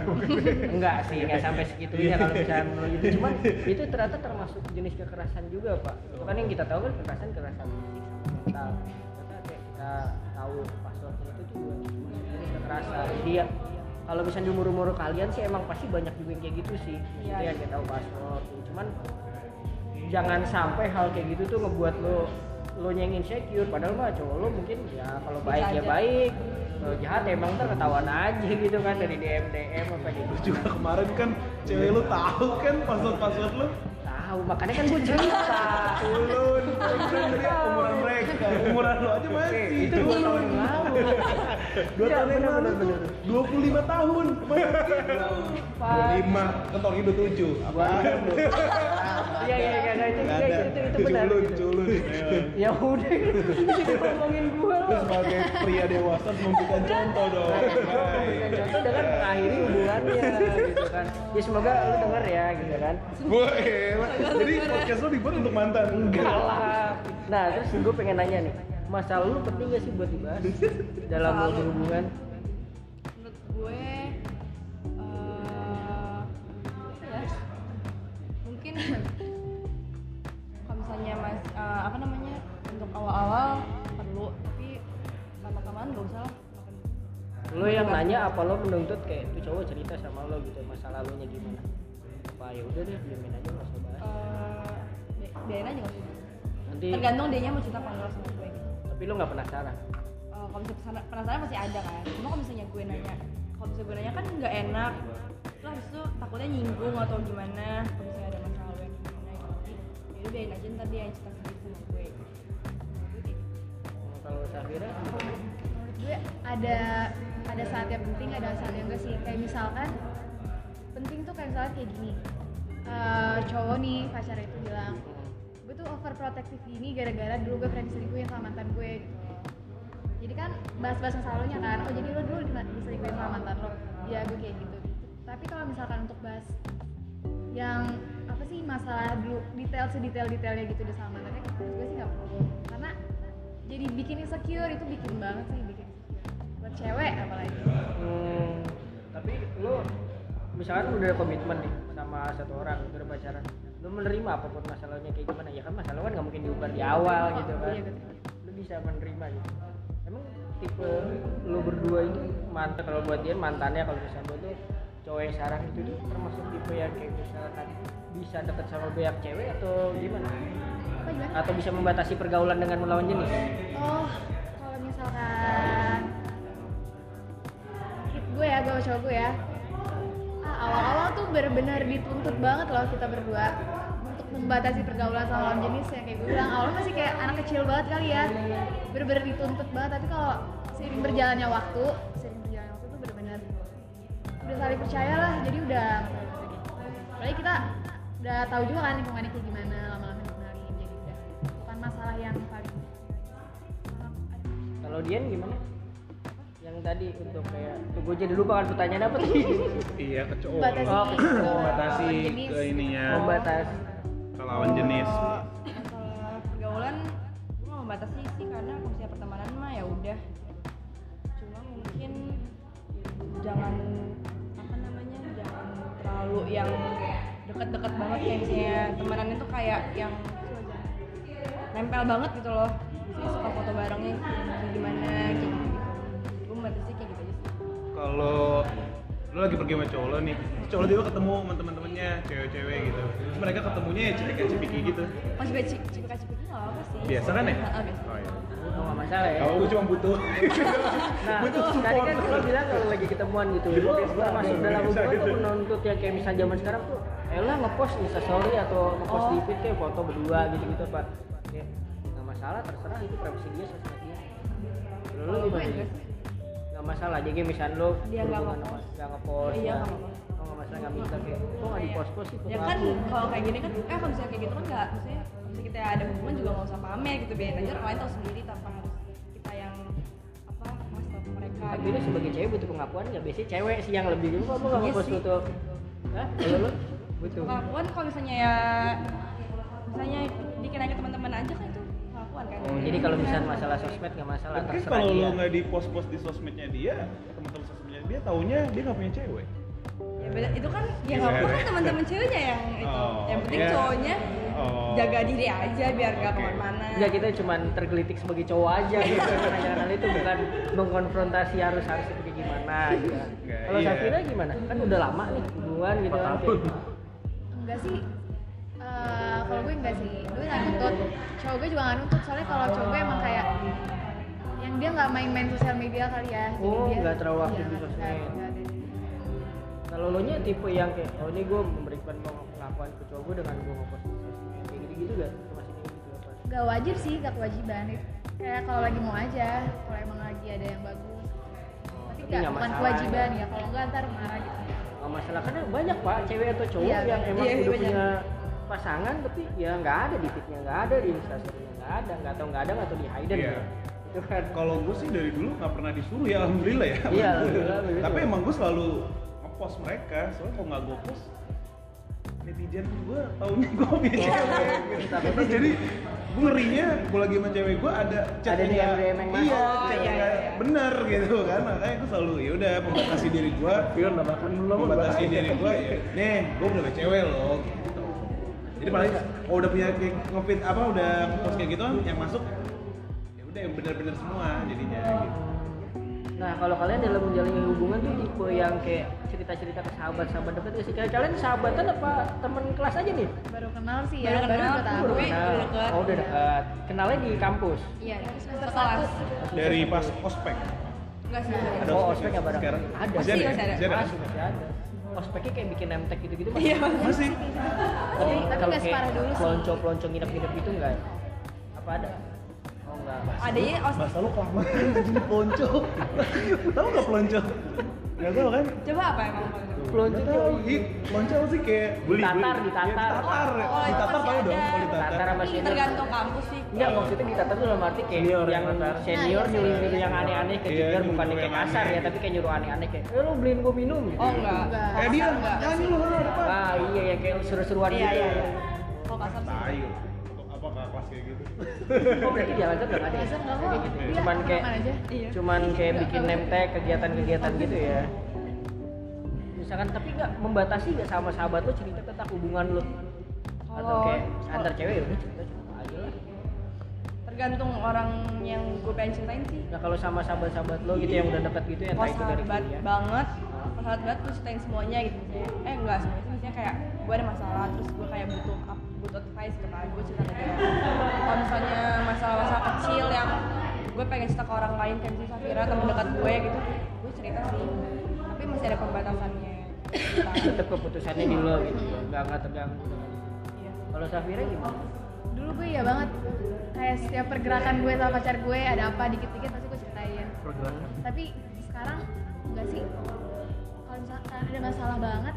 [SPEAKER 1] enggak sih enggak sampai segitunya kalau misalnya menurut gitu cuman itu ternyata termasuk jenis kekerasan juga pak itu kan yang kita tahu kan kekerasan kekerasan fisik sama mental ternyata kayak kita tahu passwordnya itu juga jenis kekerasan jadi ya kalau misalnya di umur-umur kalian sih emang pasti banyak juga yang kayak gitu sih maksudnya yang kita tahu password gitu. cuman jangan sampai hal kayak gitu tuh ngebuat lo lo yang insecure padahal mah cowok lo mungkin ya kalau baik ya
[SPEAKER 5] aja.
[SPEAKER 1] baik kalau jahat ya emang ntar ketahuan aja gitu kan dari DM DM apa gitu
[SPEAKER 2] Lu juga kemarin kan cewek lu tahu kan password-password lu
[SPEAKER 1] tahu makanya kan gue cerita
[SPEAKER 2] ulun ulun dia umuran mereka umuran lu aja masih
[SPEAKER 1] itu dua tahun yang lalu
[SPEAKER 2] dua
[SPEAKER 1] Iya,
[SPEAKER 2] tahun yang
[SPEAKER 1] benar,
[SPEAKER 2] lalu
[SPEAKER 1] benar,
[SPEAKER 2] dua puluh lima tahun lima Kan kentong itu tujuh apa
[SPEAKER 1] iya iya iya iya, itu
[SPEAKER 2] Nggak
[SPEAKER 1] itu
[SPEAKER 2] ada.
[SPEAKER 1] itu, itu benar
[SPEAKER 2] culun
[SPEAKER 1] gitu.
[SPEAKER 2] culun
[SPEAKER 1] ya udah itu ngomongin gue
[SPEAKER 2] Lu sebagai pria dewasa harus memberikan contoh dong
[SPEAKER 1] Memberikan contoh dengan mengakhiri hubungannya gitu kan ya semoga lu denger ya gitu kan
[SPEAKER 2] gue jadi podcast lu dibuat untuk mantan
[SPEAKER 1] enggak lah nah terus gue pengen nanya nih masalah lu penting gak sih buat dibahas dalam
[SPEAKER 5] Masalah
[SPEAKER 1] mengurus
[SPEAKER 5] lu.
[SPEAKER 1] hubungan
[SPEAKER 5] menurut gue eh, apa ya? mungkin kalau misalnya mas eh, apa namanya untuk awal-awal perlu tapi sama teman gak usah lah nggak perlu.
[SPEAKER 1] lu yang nanya apa lo menuntut kayak tuh cowok cerita sama lo gitu masa lalunya gimana apa ya udah deh diamin aja nggak usah bahas
[SPEAKER 5] Eh, bi- biarin aja gak usah
[SPEAKER 1] nanti
[SPEAKER 5] tergantung dia mau cerita apa enggak sama gue gitu
[SPEAKER 1] tapi lo nggak penasaran
[SPEAKER 5] Eh, kalau misalnya penasaran, penasaran pasti ada kan cuma kalau misalnya gue nanya kalau misalnya gue nanya kan nggak enak terus habis itu takutnya nyinggung atau gimana kalau misalnya ada masalah lo yang gimana gitu jadi ya udah biarin aja ntar dia yang cerita sendiri sama gue Gue kayak gitu.
[SPEAKER 1] Hmm, kalau Safira
[SPEAKER 4] menurut gue ada ada saat yang penting ada saat yang enggak sih kayak misalkan penting tuh kayak misalkan kayak gini Eh, cowok nih pacar itu bilang gue tuh overprotective gini gara-gara dulu gue friend selingkuhin sama mantan gue gitu jadi kan bahas-bahas yang selalunya kan oh jadi lo dulu dima- diselingkuhin sama mantan lo ya gue kayak gitu tapi kalau misalkan untuk bahas yang apa sih masalah dulu detail sedetail detailnya gitu di sama mantannya menurut gue sih nggak perlu karena jadi bikin insecure itu bikin banget sih bikin insecure buat cewek apalagi
[SPEAKER 1] hmm, tapi lo misalkan udah ada komitmen nih sama satu orang udah ada pacaran lo menerima apapun masalahnya kayak gimana ya kan masalah kan nggak mungkin diubah di awal gitu kan
[SPEAKER 4] Iya, betul.
[SPEAKER 1] lo bisa menerima gitu emang tipe lo berdua ini mantan kalau buat dia mantannya kalau misalnya buat lo cowok yang sekarang itu tuh termasuk tipe yang kayak misalkan bisa deket sama banyak cewek atau gimana
[SPEAKER 4] apa gimana
[SPEAKER 1] atau bisa membatasi pergaulan dengan melawan jenis
[SPEAKER 4] oh kalau misalkan Hit gue ya gue sama cowok gue ya Ah, awal-awal tuh bener-bener dituntut banget loh kita berdua untuk membatasi pergaulan sama lawan jenis ya kayak gue bilang awalnya masih kayak anak kecil banget kali ya bener-bener dituntut banget tapi kalau sering berjalannya waktu sering berjalannya waktu tuh bener-bener udah saling percaya lah jadi udah apalagi kita udah tahu juga kan lingkungannya kayak gimana lama-lama dikenalin jadi udah bukan masalah yang paling
[SPEAKER 1] Kalau Dian gimana? Yang tadi untuk kayak tuh gue jadi lupa kan pertanyaan apa tadi?
[SPEAKER 2] iya kecoa
[SPEAKER 4] membatasi
[SPEAKER 1] Oh,
[SPEAKER 2] batasi ke ininya
[SPEAKER 1] Membatas.
[SPEAKER 2] ke lawan jenis
[SPEAKER 5] Kalau masalah pergaulan gue nggak membatasi sih karena kalau misalnya pertemanan mah ya udah cuma mungkin jangan apa namanya jangan terlalu yang deket-deket banget kayak misalnya temenannya tuh kayak yang nempel banget gitu loh Misalnya suka foto barengnya kayak gimana kayak gitu gue membatasi kayak gitu aja sih
[SPEAKER 2] kalau lu lagi pergi sama cowok lo nih terus cowok lo juga ketemu sama teman-temannya cewek-cewek gitu terus mereka ketemunya ya cipika-cipiki gitu
[SPEAKER 5] masih baca cipika-cipiki nggak apa sih
[SPEAKER 2] biasa kan ya?
[SPEAKER 5] Ah, biasa.
[SPEAKER 2] iya.
[SPEAKER 1] Oh, nggak masalah ya.
[SPEAKER 2] Kalau gue cuma butuh
[SPEAKER 1] Nah,
[SPEAKER 2] butuh
[SPEAKER 1] tadi
[SPEAKER 2] support.
[SPEAKER 1] kan lo bilang kalau lagi ketemuan gitu, lo masuk dalam hubungan tuh menuntut yang kayak misalnya zaman sekarang tuh, elah ngepost instastory atau ngepost
[SPEAKER 5] Oh.
[SPEAKER 1] di feed kayak foto berdua gitu-gitu apa. Kayak nggak masalah, terserah itu privacy dia, sosmed dia. Kalau Lo
[SPEAKER 5] Kalau gue
[SPEAKER 1] gimana?
[SPEAKER 5] enggak sih.
[SPEAKER 1] Nggak masalah, jadi kayak misalnya lo
[SPEAKER 5] Dia nggak
[SPEAKER 1] berhubungan
[SPEAKER 5] ngepost.
[SPEAKER 1] sama- nggak ngepost,
[SPEAKER 5] Iya,
[SPEAKER 1] ya.
[SPEAKER 5] nggak ngepost.
[SPEAKER 1] Oh, nggak masalah nggak minta kayak, kok nggak di post-post sih foto
[SPEAKER 5] ya kan
[SPEAKER 1] aku?"
[SPEAKER 5] kalau kayak gini kan eh kalau misalnya kayak gitu kan nggak maksudnya kalau misalnya kita ada hubungan juga nggak usah pamer gitu biarin aja orang lain tahu sendiri tanpa harus kita yang apa ngasih tahu ke mereka
[SPEAKER 1] tapi lu sebagai cewek butuh pengakuan nggak biasanya cewek sih yang lebih dulu kamu nggak
[SPEAKER 5] Iya
[SPEAKER 1] fokus
[SPEAKER 5] sih.
[SPEAKER 1] butuh Hah? Kalau lu butuh
[SPEAKER 5] pengakuan kalau misalnya ya misalnya dikenain ke teman-teman aja kan itu pengakuan kan
[SPEAKER 2] Oh,
[SPEAKER 1] jadi kalau misalnya masalah sosmed nggak masalah
[SPEAKER 2] Mungkin
[SPEAKER 1] terserah
[SPEAKER 2] kalau
[SPEAKER 1] dia
[SPEAKER 2] lo nggak di post-post di sosmednya dia, teman-teman sosmednya dia taunya dia nggak punya cewek.
[SPEAKER 5] ya beda itu kan ya nggak apa-apa kan teman-teman ceweknya yang itu
[SPEAKER 2] Iya, Oh,
[SPEAKER 5] yang penting
[SPEAKER 2] iya.
[SPEAKER 5] cowoknya
[SPEAKER 2] Oh.
[SPEAKER 5] jaga diri aja biar nggak
[SPEAKER 2] Oke.
[SPEAKER 5] kemana-mana
[SPEAKER 1] Enggak kita cuman tergelitik sebagai cowok aja gitu Kadang-kadang itu bukan mengkonfrontasi harus harus itu kayak gimana gitu.
[SPEAKER 2] Enggak,
[SPEAKER 1] Kalau
[SPEAKER 2] iya.
[SPEAKER 1] Safira gimana? Kan udah lama nih hubungan gitu kan.
[SPEAKER 6] tahun.
[SPEAKER 4] enggak sih Eh, kalau gue enggak sih gue nggak nuntut cowok gue juga nggak nuntut soalnya kalau cowok gue emang kayak yang dia nggak main-main sosial media kali ya jadi
[SPEAKER 1] Oh,
[SPEAKER 4] dia-
[SPEAKER 1] nggak terlalu aktif di
[SPEAKER 4] Iya,
[SPEAKER 1] sosmed.
[SPEAKER 4] nggak- nggak ada sih.
[SPEAKER 1] Kalau lo nya tipe yang kayak oh ini gue memberikan pengakuan ke cowok gue dengan gue ngepost di sosmed kayak gitu gitu gak? Masih kayak gitu apa?
[SPEAKER 4] nggak wajib sih nggak kewajiban kayak kalau lagi mau aja kalau emang lagi ada yang bagus tapi
[SPEAKER 1] tapi
[SPEAKER 4] nggak
[SPEAKER 1] nggak
[SPEAKER 4] bukan
[SPEAKER 1] masalah.
[SPEAKER 4] kewajiban ya kalau nggak ntar marah gitu
[SPEAKER 1] Nggak masalah karena banyak pak cewek atau cowok
[SPEAKER 4] Iya,
[SPEAKER 1] yang emang
[SPEAKER 5] iya,
[SPEAKER 1] udah
[SPEAKER 5] banyak.
[SPEAKER 1] punya pasangan tapi ya nggak ada di feednya nggak ada di instastorynya nggak ada nggak tahu nggak ada nggak tahu di hidden
[SPEAKER 2] Iya.
[SPEAKER 1] ya. itu kan
[SPEAKER 2] Kalau gue sih dari dulu nggak pernah disuruh ya alhamdulillah ya.
[SPEAKER 1] Iya, alhamdulillah, begitu.
[SPEAKER 2] Tapi emang gue selalu ngepost mereka, soalnya kalau nggak gue post netizen gue taunya gue punya cewek. gitu. Jadi gue ngerinya gue lagi sama cewek gue ada chat
[SPEAKER 1] Ada
[SPEAKER 2] yang
[SPEAKER 1] DM
[SPEAKER 2] nggak-
[SPEAKER 1] yang
[SPEAKER 2] iya,
[SPEAKER 1] masuk.
[SPEAKER 2] chat
[SPEAKER 5] iya,
[SPEAKER 2] yang nggak bener gitu kan makanya gue selalu ya udah membatasi diri gue
[SPEAKER 6] Pion nama kan belum
[SPEAKER 2] membatasi
[SPEAKER 6] bahaya.
[SPEAKER 2] diri gue ya nih gue udah punya cewek loh gitu jadi paling kalau udah punya kayak ngefit apa udah post kayak gitu kan yang masuk ya udah yang benar-benar semua jadinya gitu
[SPEAKER 1] Nah, kalau kalian dalam menjalin hubungan tuh tipe yang kayak cerita-cerita ke sahabat-sahabat dekat ya sih. Kayak kalian sahabatan apa temen kelas aja nih?
[SPEAKER 4] baru kenal sih ya
[SPEAKER 5] Baru
[SPEAKER 4] baru
[SPEAKER 5] kenal,
[SPEAKER 4] dua tahun
[SPEAKER 5] baru kenal. udah dekat.
[SPEAKER 1] Oh, udah dekat. Kenalnya di kampus.
[SPEAKER 4] iya terus semester
[SPEAKER 5] Sekelas.
[SPEAKER 4] satu
[SPEAKER 2] dari pas ospek
[SPEAKER 5] enggak sih
[SPEAKER 2] Ada
[SPEAKER 1] oh,
[SPEAKER 2] ospek
[SPEAKER 1] ospek nggak bareng?
[SPEAKER 2] sekarang?
[SPEAKER 1] Ada.
[SPEAKER 2] Masih
[SPEAKER 5] ada? Masih
[SPEAKER 2] ada?
[SPEAKER 1] Masih, masih ada. Ospeknya kayak bikin nemtek gitu-gitu masih.
[SPEAKER 5] iya Mas.
[SPEAKER 2] masih
[SPEAKER 1] Tapi
[SPEAKER 4] Tapi
[SPEAKER 1] kalau
[SPEAKER 4] nggak
[SPEAKER 1] kayak
[SPEAKER 4] separah dulu sih.
[SPEAKER 1] pelonco-pelonco nginep-nginep gitu enggak? Apa ada? Oh, enggak.
[SPEAKER 5] adanya os-
[SPEAKER 2] bahasa lu kelamaan jadi pelonco tau gak pelonco gak tau kan
[SPEAKER 5] coba apa emang
[SPEAKER 1] Pelonco
[SPEAKER 2] Gak
[SPEAKER 1] tuh
[SPEAKER 2] tau, ih, lonco sih kayak beli Iya,
[SPEAKER 1] Ditatar, ditatar.
[SPEAKER 2] ditatar,
[SPEAKER 5] Oh, itu
[SPEAKER 2] ditatar
[SPEAKER 5] masih
[SPEAKER 2] paling dong,
[SPEAKER 5] ada.
[SPEAKER 2] kalau
[SPEAKER 1] Ditatar
[SPEAKER 2] ditatar
[SPEAKER 1] sama senior.
[SPEAKER 5] tergantung kampus sih
[SPEAKER 1] Enggak, maksudnya ditatar tuh dalam arti kayak
[SPEAKER 6] Senior
[SPEAKER 1] yang
[SPEAKER 6] yang natar.
[SPEAKER 1] senior
[SPEAKER 4] Nah, iya,
[SPEAKER 1] nyuruh nyuruh
[SPEAKER 4] senior.
[SPEAKER 1] yang aneh-aneh kayak
[SPEAKER 2] Iya,
[SPEAKER 1] Jigar,
[SPEAKER 2] nyuruh
[SPEAKER 1] bukan yang
[SPEAKER 2] yang
[SPEAKER 1] kayak kasar
[SPEAKER 2] aneh.
[SPEAKER 1] ya, tapi kayak nyuruh aneh-aneh kayak, eh lu beliin gua minum gitu.
[SPEAKER 5] oh enggak
[SPEAKER 4] Enggak.
[SPEAKER 2] Eh dia,
[SPEAKER 5] Enggak.
[SPEAKER 2] nyanyi lu orang depan
[SPEAKER 1] Ah iya ya kayak seru-seruan
[SPEAKER 5] iya
[SPEAKER 1] gitu.
[SPEAKER 5] iya iya kalau kasar sih
[SPEAKER 2] Tayu, apa nggak kelas kayak gitu?
[SPEAKER 1] Oh berarti di Al-Azhar nggak ada. ya?
[SPEAKER 4] semester nggak kok
[SPEAKER 1] gitu.
[SPEAKER 4] Iya,
[SPEAKER 1] Cuman kayak
[SPEAKER 4] aman aja
[SPEAKER 5] Iya.
[SPEAKER 1] cuman kayak bikin nemtek kegiatan-kegiatan gitu ya. Misalkan tapi nggak membatasi nggak sama sahabat lo cerita tentang hubungan lo. Atau
[SPEAKER 5] Kalau-
[SPEAKER 1] kayak
[SPEAKER 5] kalau-
[SPEAKER 1] antar cewek ya udah cerita cerita aja lah.
[SPEAKER 5] tergantung orang yang gue pengen ceritain sih
[SPEAKER 1] Nah kalau sama sahabat-sahabat lo gitu yang udah dekat gitu ya entah
[SPEAKER 5] kalau
[SPEAKER 1] itu dari
[SPEAKER 5] Oh, sahabat
[SPEAKER 1] kuliah.
[SPEAKER 5] banget kalau sahabat banget gue ceritain semuanya gitu misalnya eh enggak semuanya sih, misalnya kayak gue ada masalah terus gue kayak butuh ap- butuh advice gitu kan gue cerita ke dia kalau misalnya masalah-masalah kecil yang gue pengen cerita ke orang lain kayak misalnya Safira teman dekat gue gitu gue cerita sih tapi masih ada pembatasannya Iya.
[SPEAKER 1] Tetap keputusannya di lo gitu. Nggak nggak terganggu. Kalau Safira gimana?
[SPEAKER 4] dulu gue iya banget kayak setiap pergerakan gue sama pacar gue ada apa dikit-dikit pasti gue ceritain
[SPEAKER 1] Pergerakan.
[SPEAKER 4] tapi sekarang enggak sih kalau misalkan ada masalah banget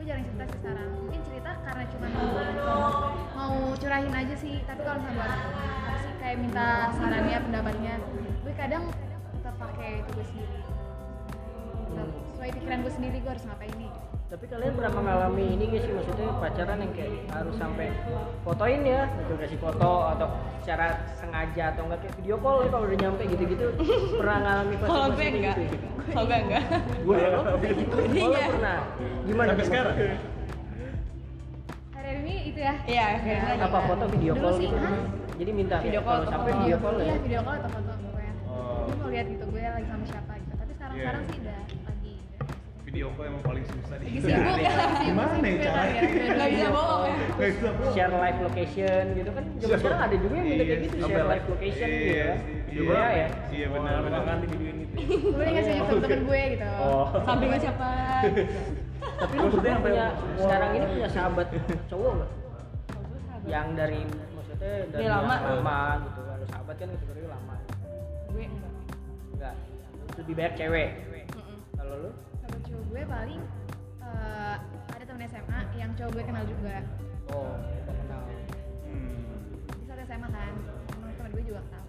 [SPEAKER 4] gue jarang cerita sih sekarang mungkin cerita karena cuma mau mau curahin aja sih tapi kalau misalnya buat apa sih kayak minta sarannya pendapatnya gue kadang tetap pakai itu gue sendiri Tetap sesuai pikiran gue sendiri gue harus ngapain nih
[SPEAKER 1] Tapi kalian pernah mengalami ini gak sih maksudnya pacaran yang kayak harus sampai fotoin ya, gitu kasih foto atau secara sengaja atau enggak kayak video call ya kalau udah nyampe gitu-gitu. Pernah ngalami
[SPEAKER 5] kalau
[SPEAKER 1] fase-fase
[SPEAKER 5] gue
[SPEAKER 1] kayak
[SPEAKER 5] enggak
[SPEAKER 1] gitu?
[SPEAKER 5] kalau gue enggak
[SPEAKER 6] Gue
[SPEAKER 1] Oh, lo
[SPEAKER 5] Iya.
[SPEAKER 1] pernah. Gimana?
[SPEAKER 2] Sampai
[SPEAKER 1] tuh
[SPEAKER 2] sekarang?
[SPEAKER 6] Iya,
[SPEAKER 1] maksudnya?
[SPEAKER 4] hari ini itu ya
[SPEAKER 5] iya kayaknya
[SPEAKER 1] Apa foto video
[SPEAKER 4] Dulu
[SPEAKER 1] call
[SPEAKER 4] sih,
[SPEAKER 1] gitu?
[SPEAKER 4] hah?
[SPEAKER 1] Jadi minta kayak
[SPEAKER 5] ah. Video call
[SPEAKER 1] kalau
[SPEAKER 5] atau
[SPEAKER 1] sampai
[SPEAKER 5] foto.
[SPEAKER 1] video call ya.
[SPEAKER 4] iya video call atau foto pokoknya
[SPEAKER 2] Oh.
[SPEAKER 4] gue mau lihat gitu gue lagi sama siapa gitu tapi sekarang sekarang
[SPEAKER 2] Iya.
[SPEAKER 4] sih udah lagi
[SPEAKER 2] Video call emang paling susah di
[SPEAKER 4] Lagi
[SPEAKER 1] Iya,
[SPEAKER 4] sibuk ya, lagi sibuk,
[SPEAKER 2] Gimana ya
[SPEAKER 4] sibuk ya,
[SPEAKER 2] caranya?
[SPEAKER 4] lagi-
[SPEAKER 5] nggak bisa bohong ya
[SPEAKER 2] Nggak bisa, bro.
[SPEAKER 1] Share live location gitu kan. Zaman
[SPEAKER 2] Share-
[SPEAKER 1] sekarang ada juga yang minta kayak
[SPEAKER 2] Iya,
[SPEAKER 1] gitu
[SPEAKER 2] sampai
[SPEAKER 1] share
[SPEAKER 6] live.
[SPEAKER 1] live location gitu
[SPEAKER 2] Iya
[SPEAKER 1] ya.
[SPEAKER 2] sih,
[SPEAKER 1] Iya
[SPEAKER 2] iya.
[SPEAKER 1] ya.
[SPEAKER 2] Iya benar benar.
[SPEAKER 6] Kan di videoin gitu.
[SPEAKER 4] gue ingat sama temen-temen gue gitu
[SPEAKER 6] Oh.
[SPEAKER 5] sampingnya siapa
[SPEAKER 1] Tapi lu
[SPEAKER 6] Terus
[SPEAKER 1] pernah
[SPEAKER 6] dia
[SPEAKER 1] punya
[SPEAKER 6] sampai-
[SPEAKER 1] sekarang ini punya sahabat cowok nggak? Yang dari maksudnya dari
[SPEAKER 5] Dari
[SPEAKER 1] yang
[SPEAKER 5] lama.
[SPEAKER 1] lama gitu. Kalau sahabat kan kategori lama.
[SPEAKER 5] gue enggak
[SPEAKER 1] Enggak. Lebih banyak cewek.
[SPEAKER 5] Mm-mm.
[SPEAKER 1] Kalau lu?
[SPEAKER 4] sama cowok gue paling eh, ada temen SMA yang cowok gue kenal juga
[SPEAKER 1] Oh, udah kenal.
[SPEAKER 4] di saat SMA kan temen temen gue juga tahu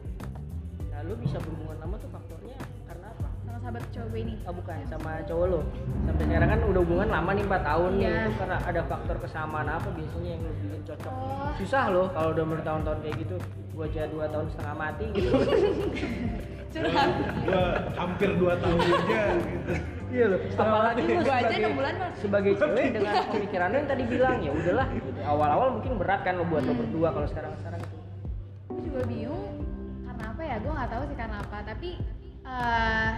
[SPEAKER 1] Nah, lu bisa berhubungan lama tuh faktornya karena apa?
[SPEAKER 4] sama sahabat cowok gue ini
[SPEAKER 1] Oh, bukan sama cowok lo. Sampai sekarang kan udah hubungan lama nih 4 tahun nih.
[SPEAKER 4] Iya.
[SPEAKER 1] Itu karena ada faktor kesamaan apa biasanya yang lo bikin cocok.
[SPEAKER 4] Oh.
[SPEAKER 1] Susah loh kalau udah bertahun-tahun kayak gitu. Gua aja 2 tahun setengah mati gitu.
[SPEAKER 5] curhat
[SPEAKER 2] Gua hampir 2 tahun aja gitu.
[SPEAKER 1] iya loh. Apalagi lo
[SPEAKER 5] Gua aja
[SPEAKER 1] sebagai-
[SPEAKER 5] enam bulan mah.
[SPEAKER 1] sebagai cewek dengan pemikiran lo yang tadi bilang ya udahlah gitu. Awal-awal mungkin berat kan lo buat lo berdua kalau sekarang-sekarang gitu. itu.
[SPEAKER 4] gue juga bingung karena apa ya gue nggak tahu sih karena apa tapi eh,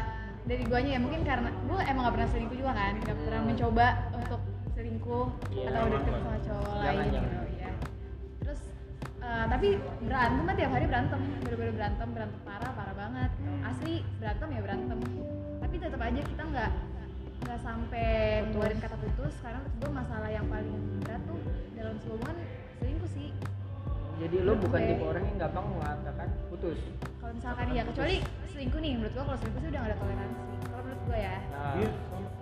[SPEAKER 4] dari guanya ya mungkin karena gue emang gak pernah selingkuh juga kan gak pernah mencoba untuk selingkuh
[SPEAKER 1] Iya,
[SPEAKER 4] atau deket sama cowok
[SPEAKER 1] Jangan,
[SPEAKER 4] lain
[SPEAKER 1] jangan.
[SPEAKER 4] gitu ya terus eh, tapi berantem kan tiap hari berantem bener-bener berantem berantem parah parah banget asli berantem ya berantem tapi tetap aja kita nggak nggak sampai ngeluarin kata putus karena menurut gue masalah yang paling berat tuh dalam sebuah hubungan selingkuh sih
[SPEAKER 1] Jadi lo bukan
[SPEAKER 4] Oke.
[SPEAKER 1] tipe orang yang gampang mengatakan putus.
[SPEAKER 4] kalau misalkan ya kecuali selingkuh nih menurut gua kalau selingkuh sih udah gak ada toleransi kalau menurut gua ya
[SPEAKER 1] Nah,
[SPEAKER 5] Iya.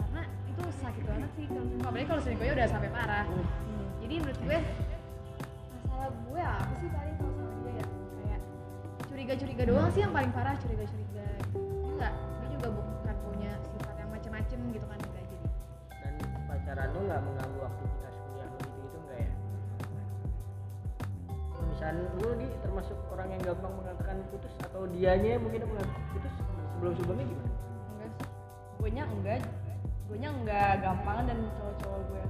[SPEAKER 4] karena itu sakit banget sih kalau selingkuh. apalagi kalau selingkuhnya udah sampai parah jadi menurut gue masalah gue apa sih paling kalau sama dia ya kayak curiga-curiga doang sih yang paling parah curiga-curiga enggak dia juga bukan punya sifat yang macem-macem gitu kan enggak jadi
[SPEAKER 1] dan pacaran lo nggak mengganggu aktivitas kuliah lo gitu gitu nggak ya misalnya lo di termasuk orang yang gampang mengatakan putus atau dianya mungkin yang mengatakan putus sebelum sebelumnya gimana
[SPEAKER 5] enggak sih gue nya enggak gue nya enggak gampang dan cowok-cowok gue yang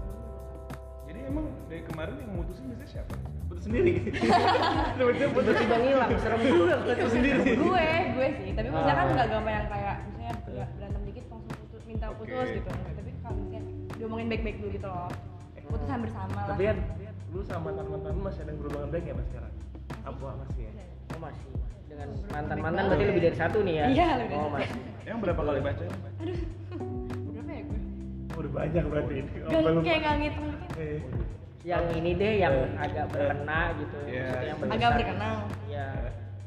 [SPEAKER 2] Jadi emang dari kemarin yang mutusin biasanya siapa? Putus sendiri. Tiba-tiba putus
[SPEAKER 1] tiba-tiba ngilang serem juga kalau
[SPEAKER 2] putus
[SPEAKER 1] terus
[SPEAKER 2] sendiri.
[SPEAKER 5] gue gue sih tapi
[SPEAKER 1] Ah.
[SPEAKER 5] misalnya kan nggak gampang yang kayak misalnya nggak berantem dikit langsung putus minta putus
[SPEAKER 2] Oke.
[SPEAKER 5] gitu tapi kalau misalnya diomongin baik-baik dulu gitu loh putus hampir sama lah
[SPEAKER 6] Tapi kan lu sama mantan-mantan lu masih ada berhubungan baik ya mas sekarang? Apa masih ya?
[SPEAKER 1] oh masih dengan mantan mantan berarti lebih dari satu nih ya
[SPEAKER 5] Iya, lebih dari
[SPEAKER 1] oh
[SPEAKER 5] satu.
[SPEAKER 1] masih
[SPEAKER 2] Yang berapa kali baca?
[SPEAKER 5] berapa ya gue
[SPEAKER 6] Oh, udah banyak berarti.
[SPEAKER 5] Gak,
[SPEAKER 6] Apa lu-
[SPEAKER 5] kayak nggak ngitung gitu
[SPEAKER 6] Eh,
[SPEAKER 1] yang ini deh yang agak berkena gitu
[SPEAKER 2] Eh. Iya.
[SPEAKER 1] maksudnya yang
[SPEAKER 5] agak
[SPEAKER 1] berkesan.
[SPEAKER 5] berkenang
[SPEAKER 1] iya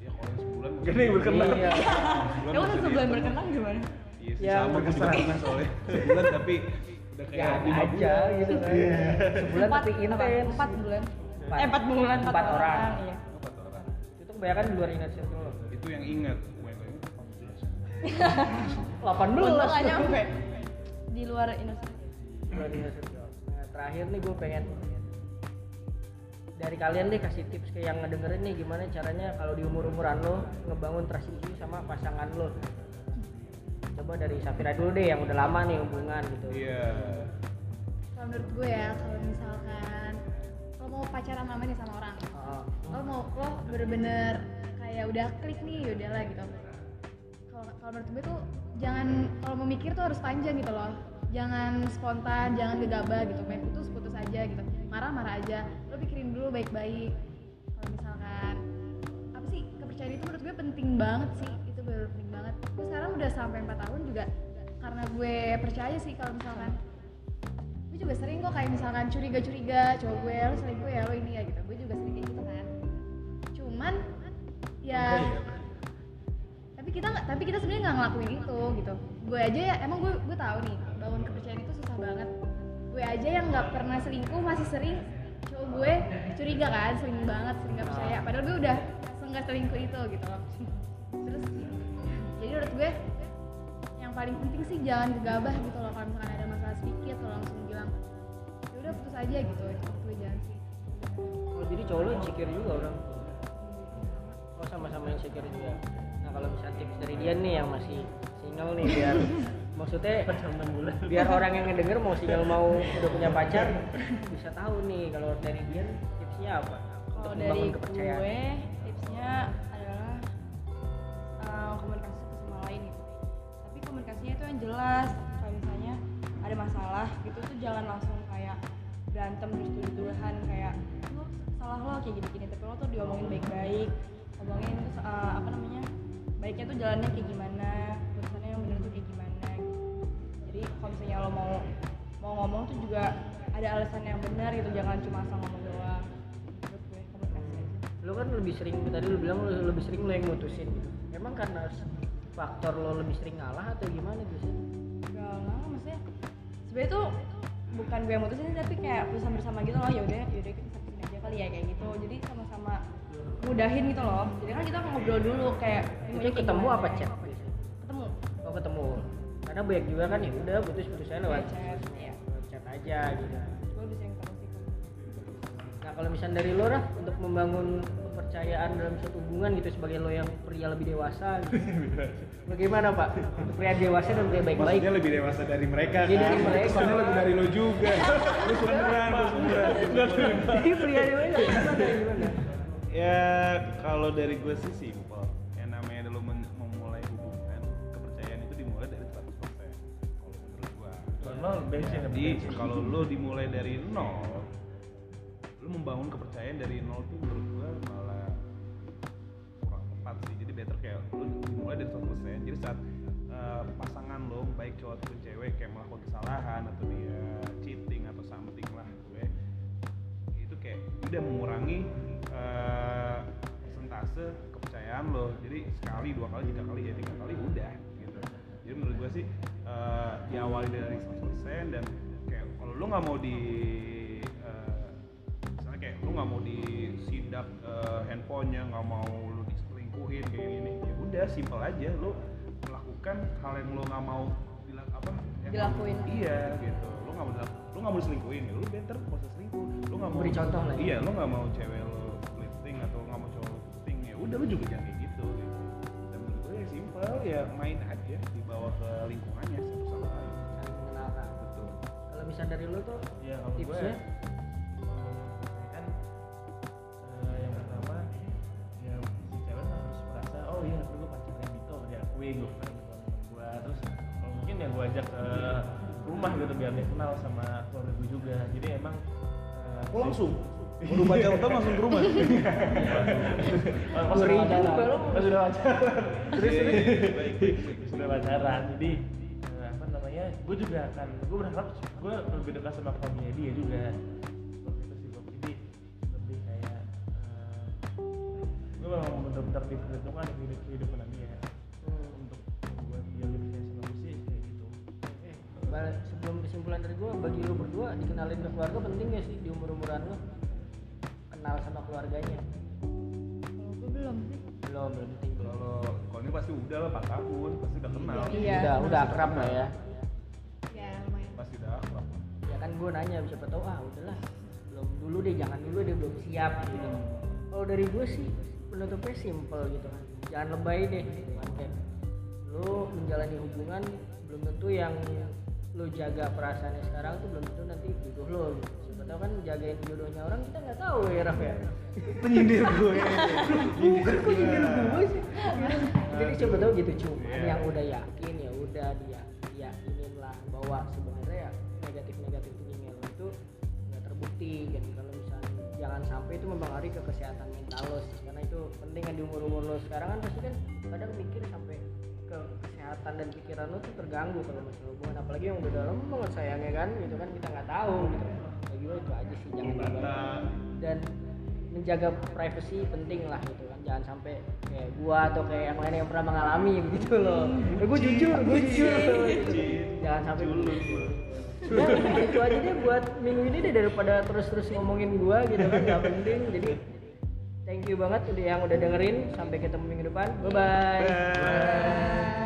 [SPEAKER 2] Ya kalau yang sebulan
[SPEAKER 6] Gak ada yang berkenan.
[SPEAKER 1] Iya.
[SPEAKER 5] ya udah sebulan berkenang gimana
[SPEAKER 2] Iya sih
[SPEAKER 1] Yang
[SPEAKER 2] sama gue juga
[SPEAKER 6] berkesan.
[SPEAKER 2] pernah soalnya. Sebulan tapi udah
[SPEAKER 1] ya
[SPEAKER 2] kayak lima
[SPEAKER 1] aja
[SPEAKER 2] bulan.
[SPEAKER 1] gitu kan
[SPEAKER 2] Iya.
[SPEAKER 1] sebulan
[SPEAKER 5] empat
[SPEAKER 1] tapi
[SPEAKER 5] apa?
[SPEAKER 1] intens
[SPEAKER 5] empat bulan eh empat bulan
[SPEAKER 1] empat orang
[SPEAKER 5] iya
[SPEAKER 2] Empat orang.
[SPEAKER 1] itu kebanyakan di luar inner circle lo
[SPEAKER 2] Itu yang ingat. Gue yang ingat 14.
[SPEAKER 1] 18
[SPEAKER 5] untung gak nyampe di luar Indonesia
[SPEAKER 1] Luar biasa, Jo. Nah, terakhir nih gue pengen dari kalian deh kasih tips ke yang ngedengerin nih gimana caranya kalau di umur umuran lo ngebangun trust issue sama pasangan lo coba dari Safira dulu deh yang udah lama nih hubungan gitu
[SPEAKER 2] Iya.
[SPEAKER 4] kalau menurut gue ya kalau misalkan kalau mau pacaran lama nih sama orang
[SPEAKER 1] Heeh.
[SPEAKER 4] lo mau lo bener-bener kayak udah klik nih udah lah gitu kalau kalau menurut gue tuh jangan kalau mau mikir tuh harus panjang gitu loh jangan spontan jangan gegabah gitu main putus putus aja gitu marah marah aja lo pikirin dulu baik-baik kalau misalkan apa sih kepercayaan itu menurut gue penting banget sih itu bener penting banget gue sekarang udah sampai 4 tahun juga karena gue percaya sih kalau misalkan gue juga sering kok kayak misalkan curiga-curiga cowok gue lo selingkuh ya lo ini ya gitu gue juga sering kayak gitu kan cuman ya tapi kita nggak tapi kita sebenarnya nggak ngelakuin itu gitu gue aja ya emang gue gue tahu nih bangun kepercayaan itu susah banget gue aja yang nggak pernah selingkuh masih sering cowok gue curiga kan sering banget sering nggak percaya padahal gue udah nggak selingkuh itu gitu loh terus jadi menurut gue yang paling penting sih jangan gegabah gitu loh kalau misalkan ada masalah sedikit lo langsung bilang ya udah putus aja gitu itu gue jangan sih
[SPEAKER 1] oh, jadi cowok lo insecure juga orang oh sama-sama insecure juga nah kalau bisa tips dari dia nih yang masih single nih biar maksudnya
[SPEAKER 6] Enam bulan.
[SPEAKER 1] biar orang yang ngedenger mau single mau udah punya pacar bisa tahu nih kalau dari dia tipsnya apa untuk
[SPEAKER 5] Kalau dari
[SPEAKER 1] membangun kepercayaan
[SPEAKER 5] gue, tipsnya adalah uh, komunikasi satu sama lain gitu. Tapi komunikasinya itu yang jelas. Kalau misalnya ada masalah gitu tuh jangan langsung kayak berantem terus tuduhan kayak lo salah lo kayak gini gini tapi lo tuh diomongin baik-baik ngomongin terus uh, apa namanya baiknya tuh jalannya kayak gimana keputusannya yang bener tuh kayak gimana gitu. jadi kalau misalnya lo mau mau ngomong tuh juga ada alasan yang benar gitu jangan cuma asal ngomong doang menurut gue komunikasi aja
[SPEAKER 1] lo kan lebih sering tadi lo bilang lo lebih sering lo yang mutusin gitu emang karena faktor lo lebih sering ngalah atau gimana gitu sih
[SPEAKER 5] enggak lah maksudnya sebenarnya tuh bukan gue yang mutusin sih, tapi kayak putusan bersama gitu loh yaudah yaudah kita putusin aja kali ya kayak gitu jadi sama-sama mudahin gitu loh jadi kan kita ngobrol dulu kayak
[SPEAKER 1] itu
[SPEAKER 5] maunya kayak
[SPEAKER 1] ketemu
[SPEAKER 5] gimana,
[SPEAKER 1] apa
[SPEAKER 5] kayak
[SPEAKER 1] chat
[SPEAKER 5] ketemu
[SPEAKER 1] oh ketemu karena banyak juga kan ya udah putus putusannya lewat
[SPEAKER 5] Iya, chat, iya.
[SPEAKER 1] lewat chat aja gitu
[SPEAKER 5] gue bisa yang tahu sih
[SPEAKER 1] nah kalau misalnya dari lo Raf, untuk membangun kepercayaan dalam suatu hubungan gitu sebagai lo yang pria lebih dewasa gitu. bagaimana pak untuk pria dewasa dan pria baik-baik
[SPEAKER 2] Maksudnya lebih dewasa dari mereka
[SPEAKER 1] Iya,
[SPEAKER 2] kan?
[SPEAKER 1] dari mereka.
[SPEAKER 2] Soalnya lebih dari lo juga. Lu seumuran, lu seumuran.
[SPEAKER 1] jadi pria dewasa gimana gimana
[SPEAKER 2] Ya kalau dari gue sih simpel. Yang namanya lo men- memulai hubungan, kepercayaan itu dimulai dari 100%. Kalau menurut gue.
[SPEAKER 6] Normal bensin
[SPEAKER 2] Jadi Iya, kalau lo dimulai dari nol, lo membangun kepercayaan dari nol tuh menurut gue malah kurang tepat sih. Jadi better kayak lo dimulai dari 100%. Jadi saat eh, pasangan lo baik cowok ataupun cewek kayak melakukan kesalahan atau dia cheating atau something lah gue itu kayak udah mengurangi eh, persentase kepercayaan lo jadi sekali dua kali tiga kali ya tiga kali udah gitu jadi menurut gue sih eh, diawali dari 100% dan kayak kalau lo nggak mau di eh, misalnya kayak lo nggak mau disindak eh, handphonenya nggak mau lo diselingkuhin kayak gini ya udah simpel aja lo melakukan hal yang lo nggak mau dilak apa yang-
[SPEAKER 5] Dilakuin.
[SPEAKER 2] iya gitu lo nggak mau dilak- lo nggak mau diselingkuhin ya lo better proses selingkuh lo nggak mau
[SPEAKER 1] Beri contoh lah ya.
[SPEAKER 2] iya lo nggak mau cewek lo flirting atau nggak mau cowok lo flirting ya udah lo juga jangan kayak gitu gitu. dan menurut gue ya simpel ya main aja dibawa ke lingkungannya satu sama lain
[SPEAKER 1] saling mengenalkan
[SPEAKER 2] betul
[SPEAKER 1] kalau misalnya dari lo tuh
[SPEAKER 6] Iya, kalau gue
[SPEAKER 1] tipsnya
[SPEAKER 6] ya kan eh, yang pertama ya si cewek harus merasa oh iya dulu gue pacarnya Dito diakui gue kenalin ke temen gue terus kalau mungkin ya gue ajak ke rumah gitu biar dia kenal sama keluarga gue juga jadi emang eh,
[SPEAKER 2] oh langsung baru baca utang langsung ke rumah
[SPEAKER 6] pas udah pacaran pas udah pacaran terus terus udah pacaran jadi eh, apa namanya gue juga akan gue berharap gue lebih dekat sama keluarganya dia juga Seperti itu sih Bob. jadi lebih kayak gue memang bener-bener diperhitungkan hidup hidup dia
[SPEAKER 1] Hmm,
[SPEAKER 6] untuk membuat dia lebih percaya sama gue sih kayak gitu
[SPEAKER 1] Ba- sebelum kesimpulan dari gue bagi lo berdua dikenalin ke keluarga penting gak sih di umur umuran lo kenal sama keluarganya
[SPEAKER 4] Kalau gue Oh, belum sih.
[SPEAKER 1] belum belum penting belum
[SPEAKER 2] kalau kalau ini pasti udah lah 4 tahun pasti udah kenal
[SPEAKER 5] Iya.
[SPEAKER 1] udah udah akrab lah ya
[SPEAKER 4] Ya lumayan.
[SPEAKER 2] pasti udah akrab
[SPEAKER 1] ya kan gue nanya siapa tahu ah udahlah belum dulu deh jangan dulu deh belum siap gitu kalau dari gue sih penutupnya simple gitu kan jangan lebay deh gitu mantep lo menjalani hubungan belum tentu yang lo jaga perasaannya sekarang tuh belum tentu nanti jodoh lo siapa tahu kan jagain jodohnya orang kita nggak tahu ya Raf ya
[SPEAKER 7] Penyindir gue.
[SPEAKER 1] bukan kok jadi lu gue sih jadi coba tahu gitu cuman yang udah yakin ya udah dia yakinin lah bahwa sebenarnya ya negatif negatif thinking lo itu nggak terbukti kan kalau misalnya jangan sampai itu mempengaruhi ke kesehatan mental lo sih. karena itu penting kan di umur umur lo sekarang kan pasti kan kadang mikir sampai ke kesehatan dan pikiran lo tuh terganggu kalau masalah hubungan apalagi yang udah dalam banget sayangnya kan gitu kan kita nggak tahu gitu ya gue itu aja sih jangan dibayar dan menjaga privacy penting lah gitu kan jangan sampai kayak gua atau kayak yang lain yang pernah mengalami gitu loh Eh, gua jujur gua jujur jangan sampai Udah, itu aja deh buat minggu ini deh daripada terus-terus ngomongin gua gitu kan nggak penting jadi thank you banget udah yang udah dengerin sampai ketemu minggu depan bye bye.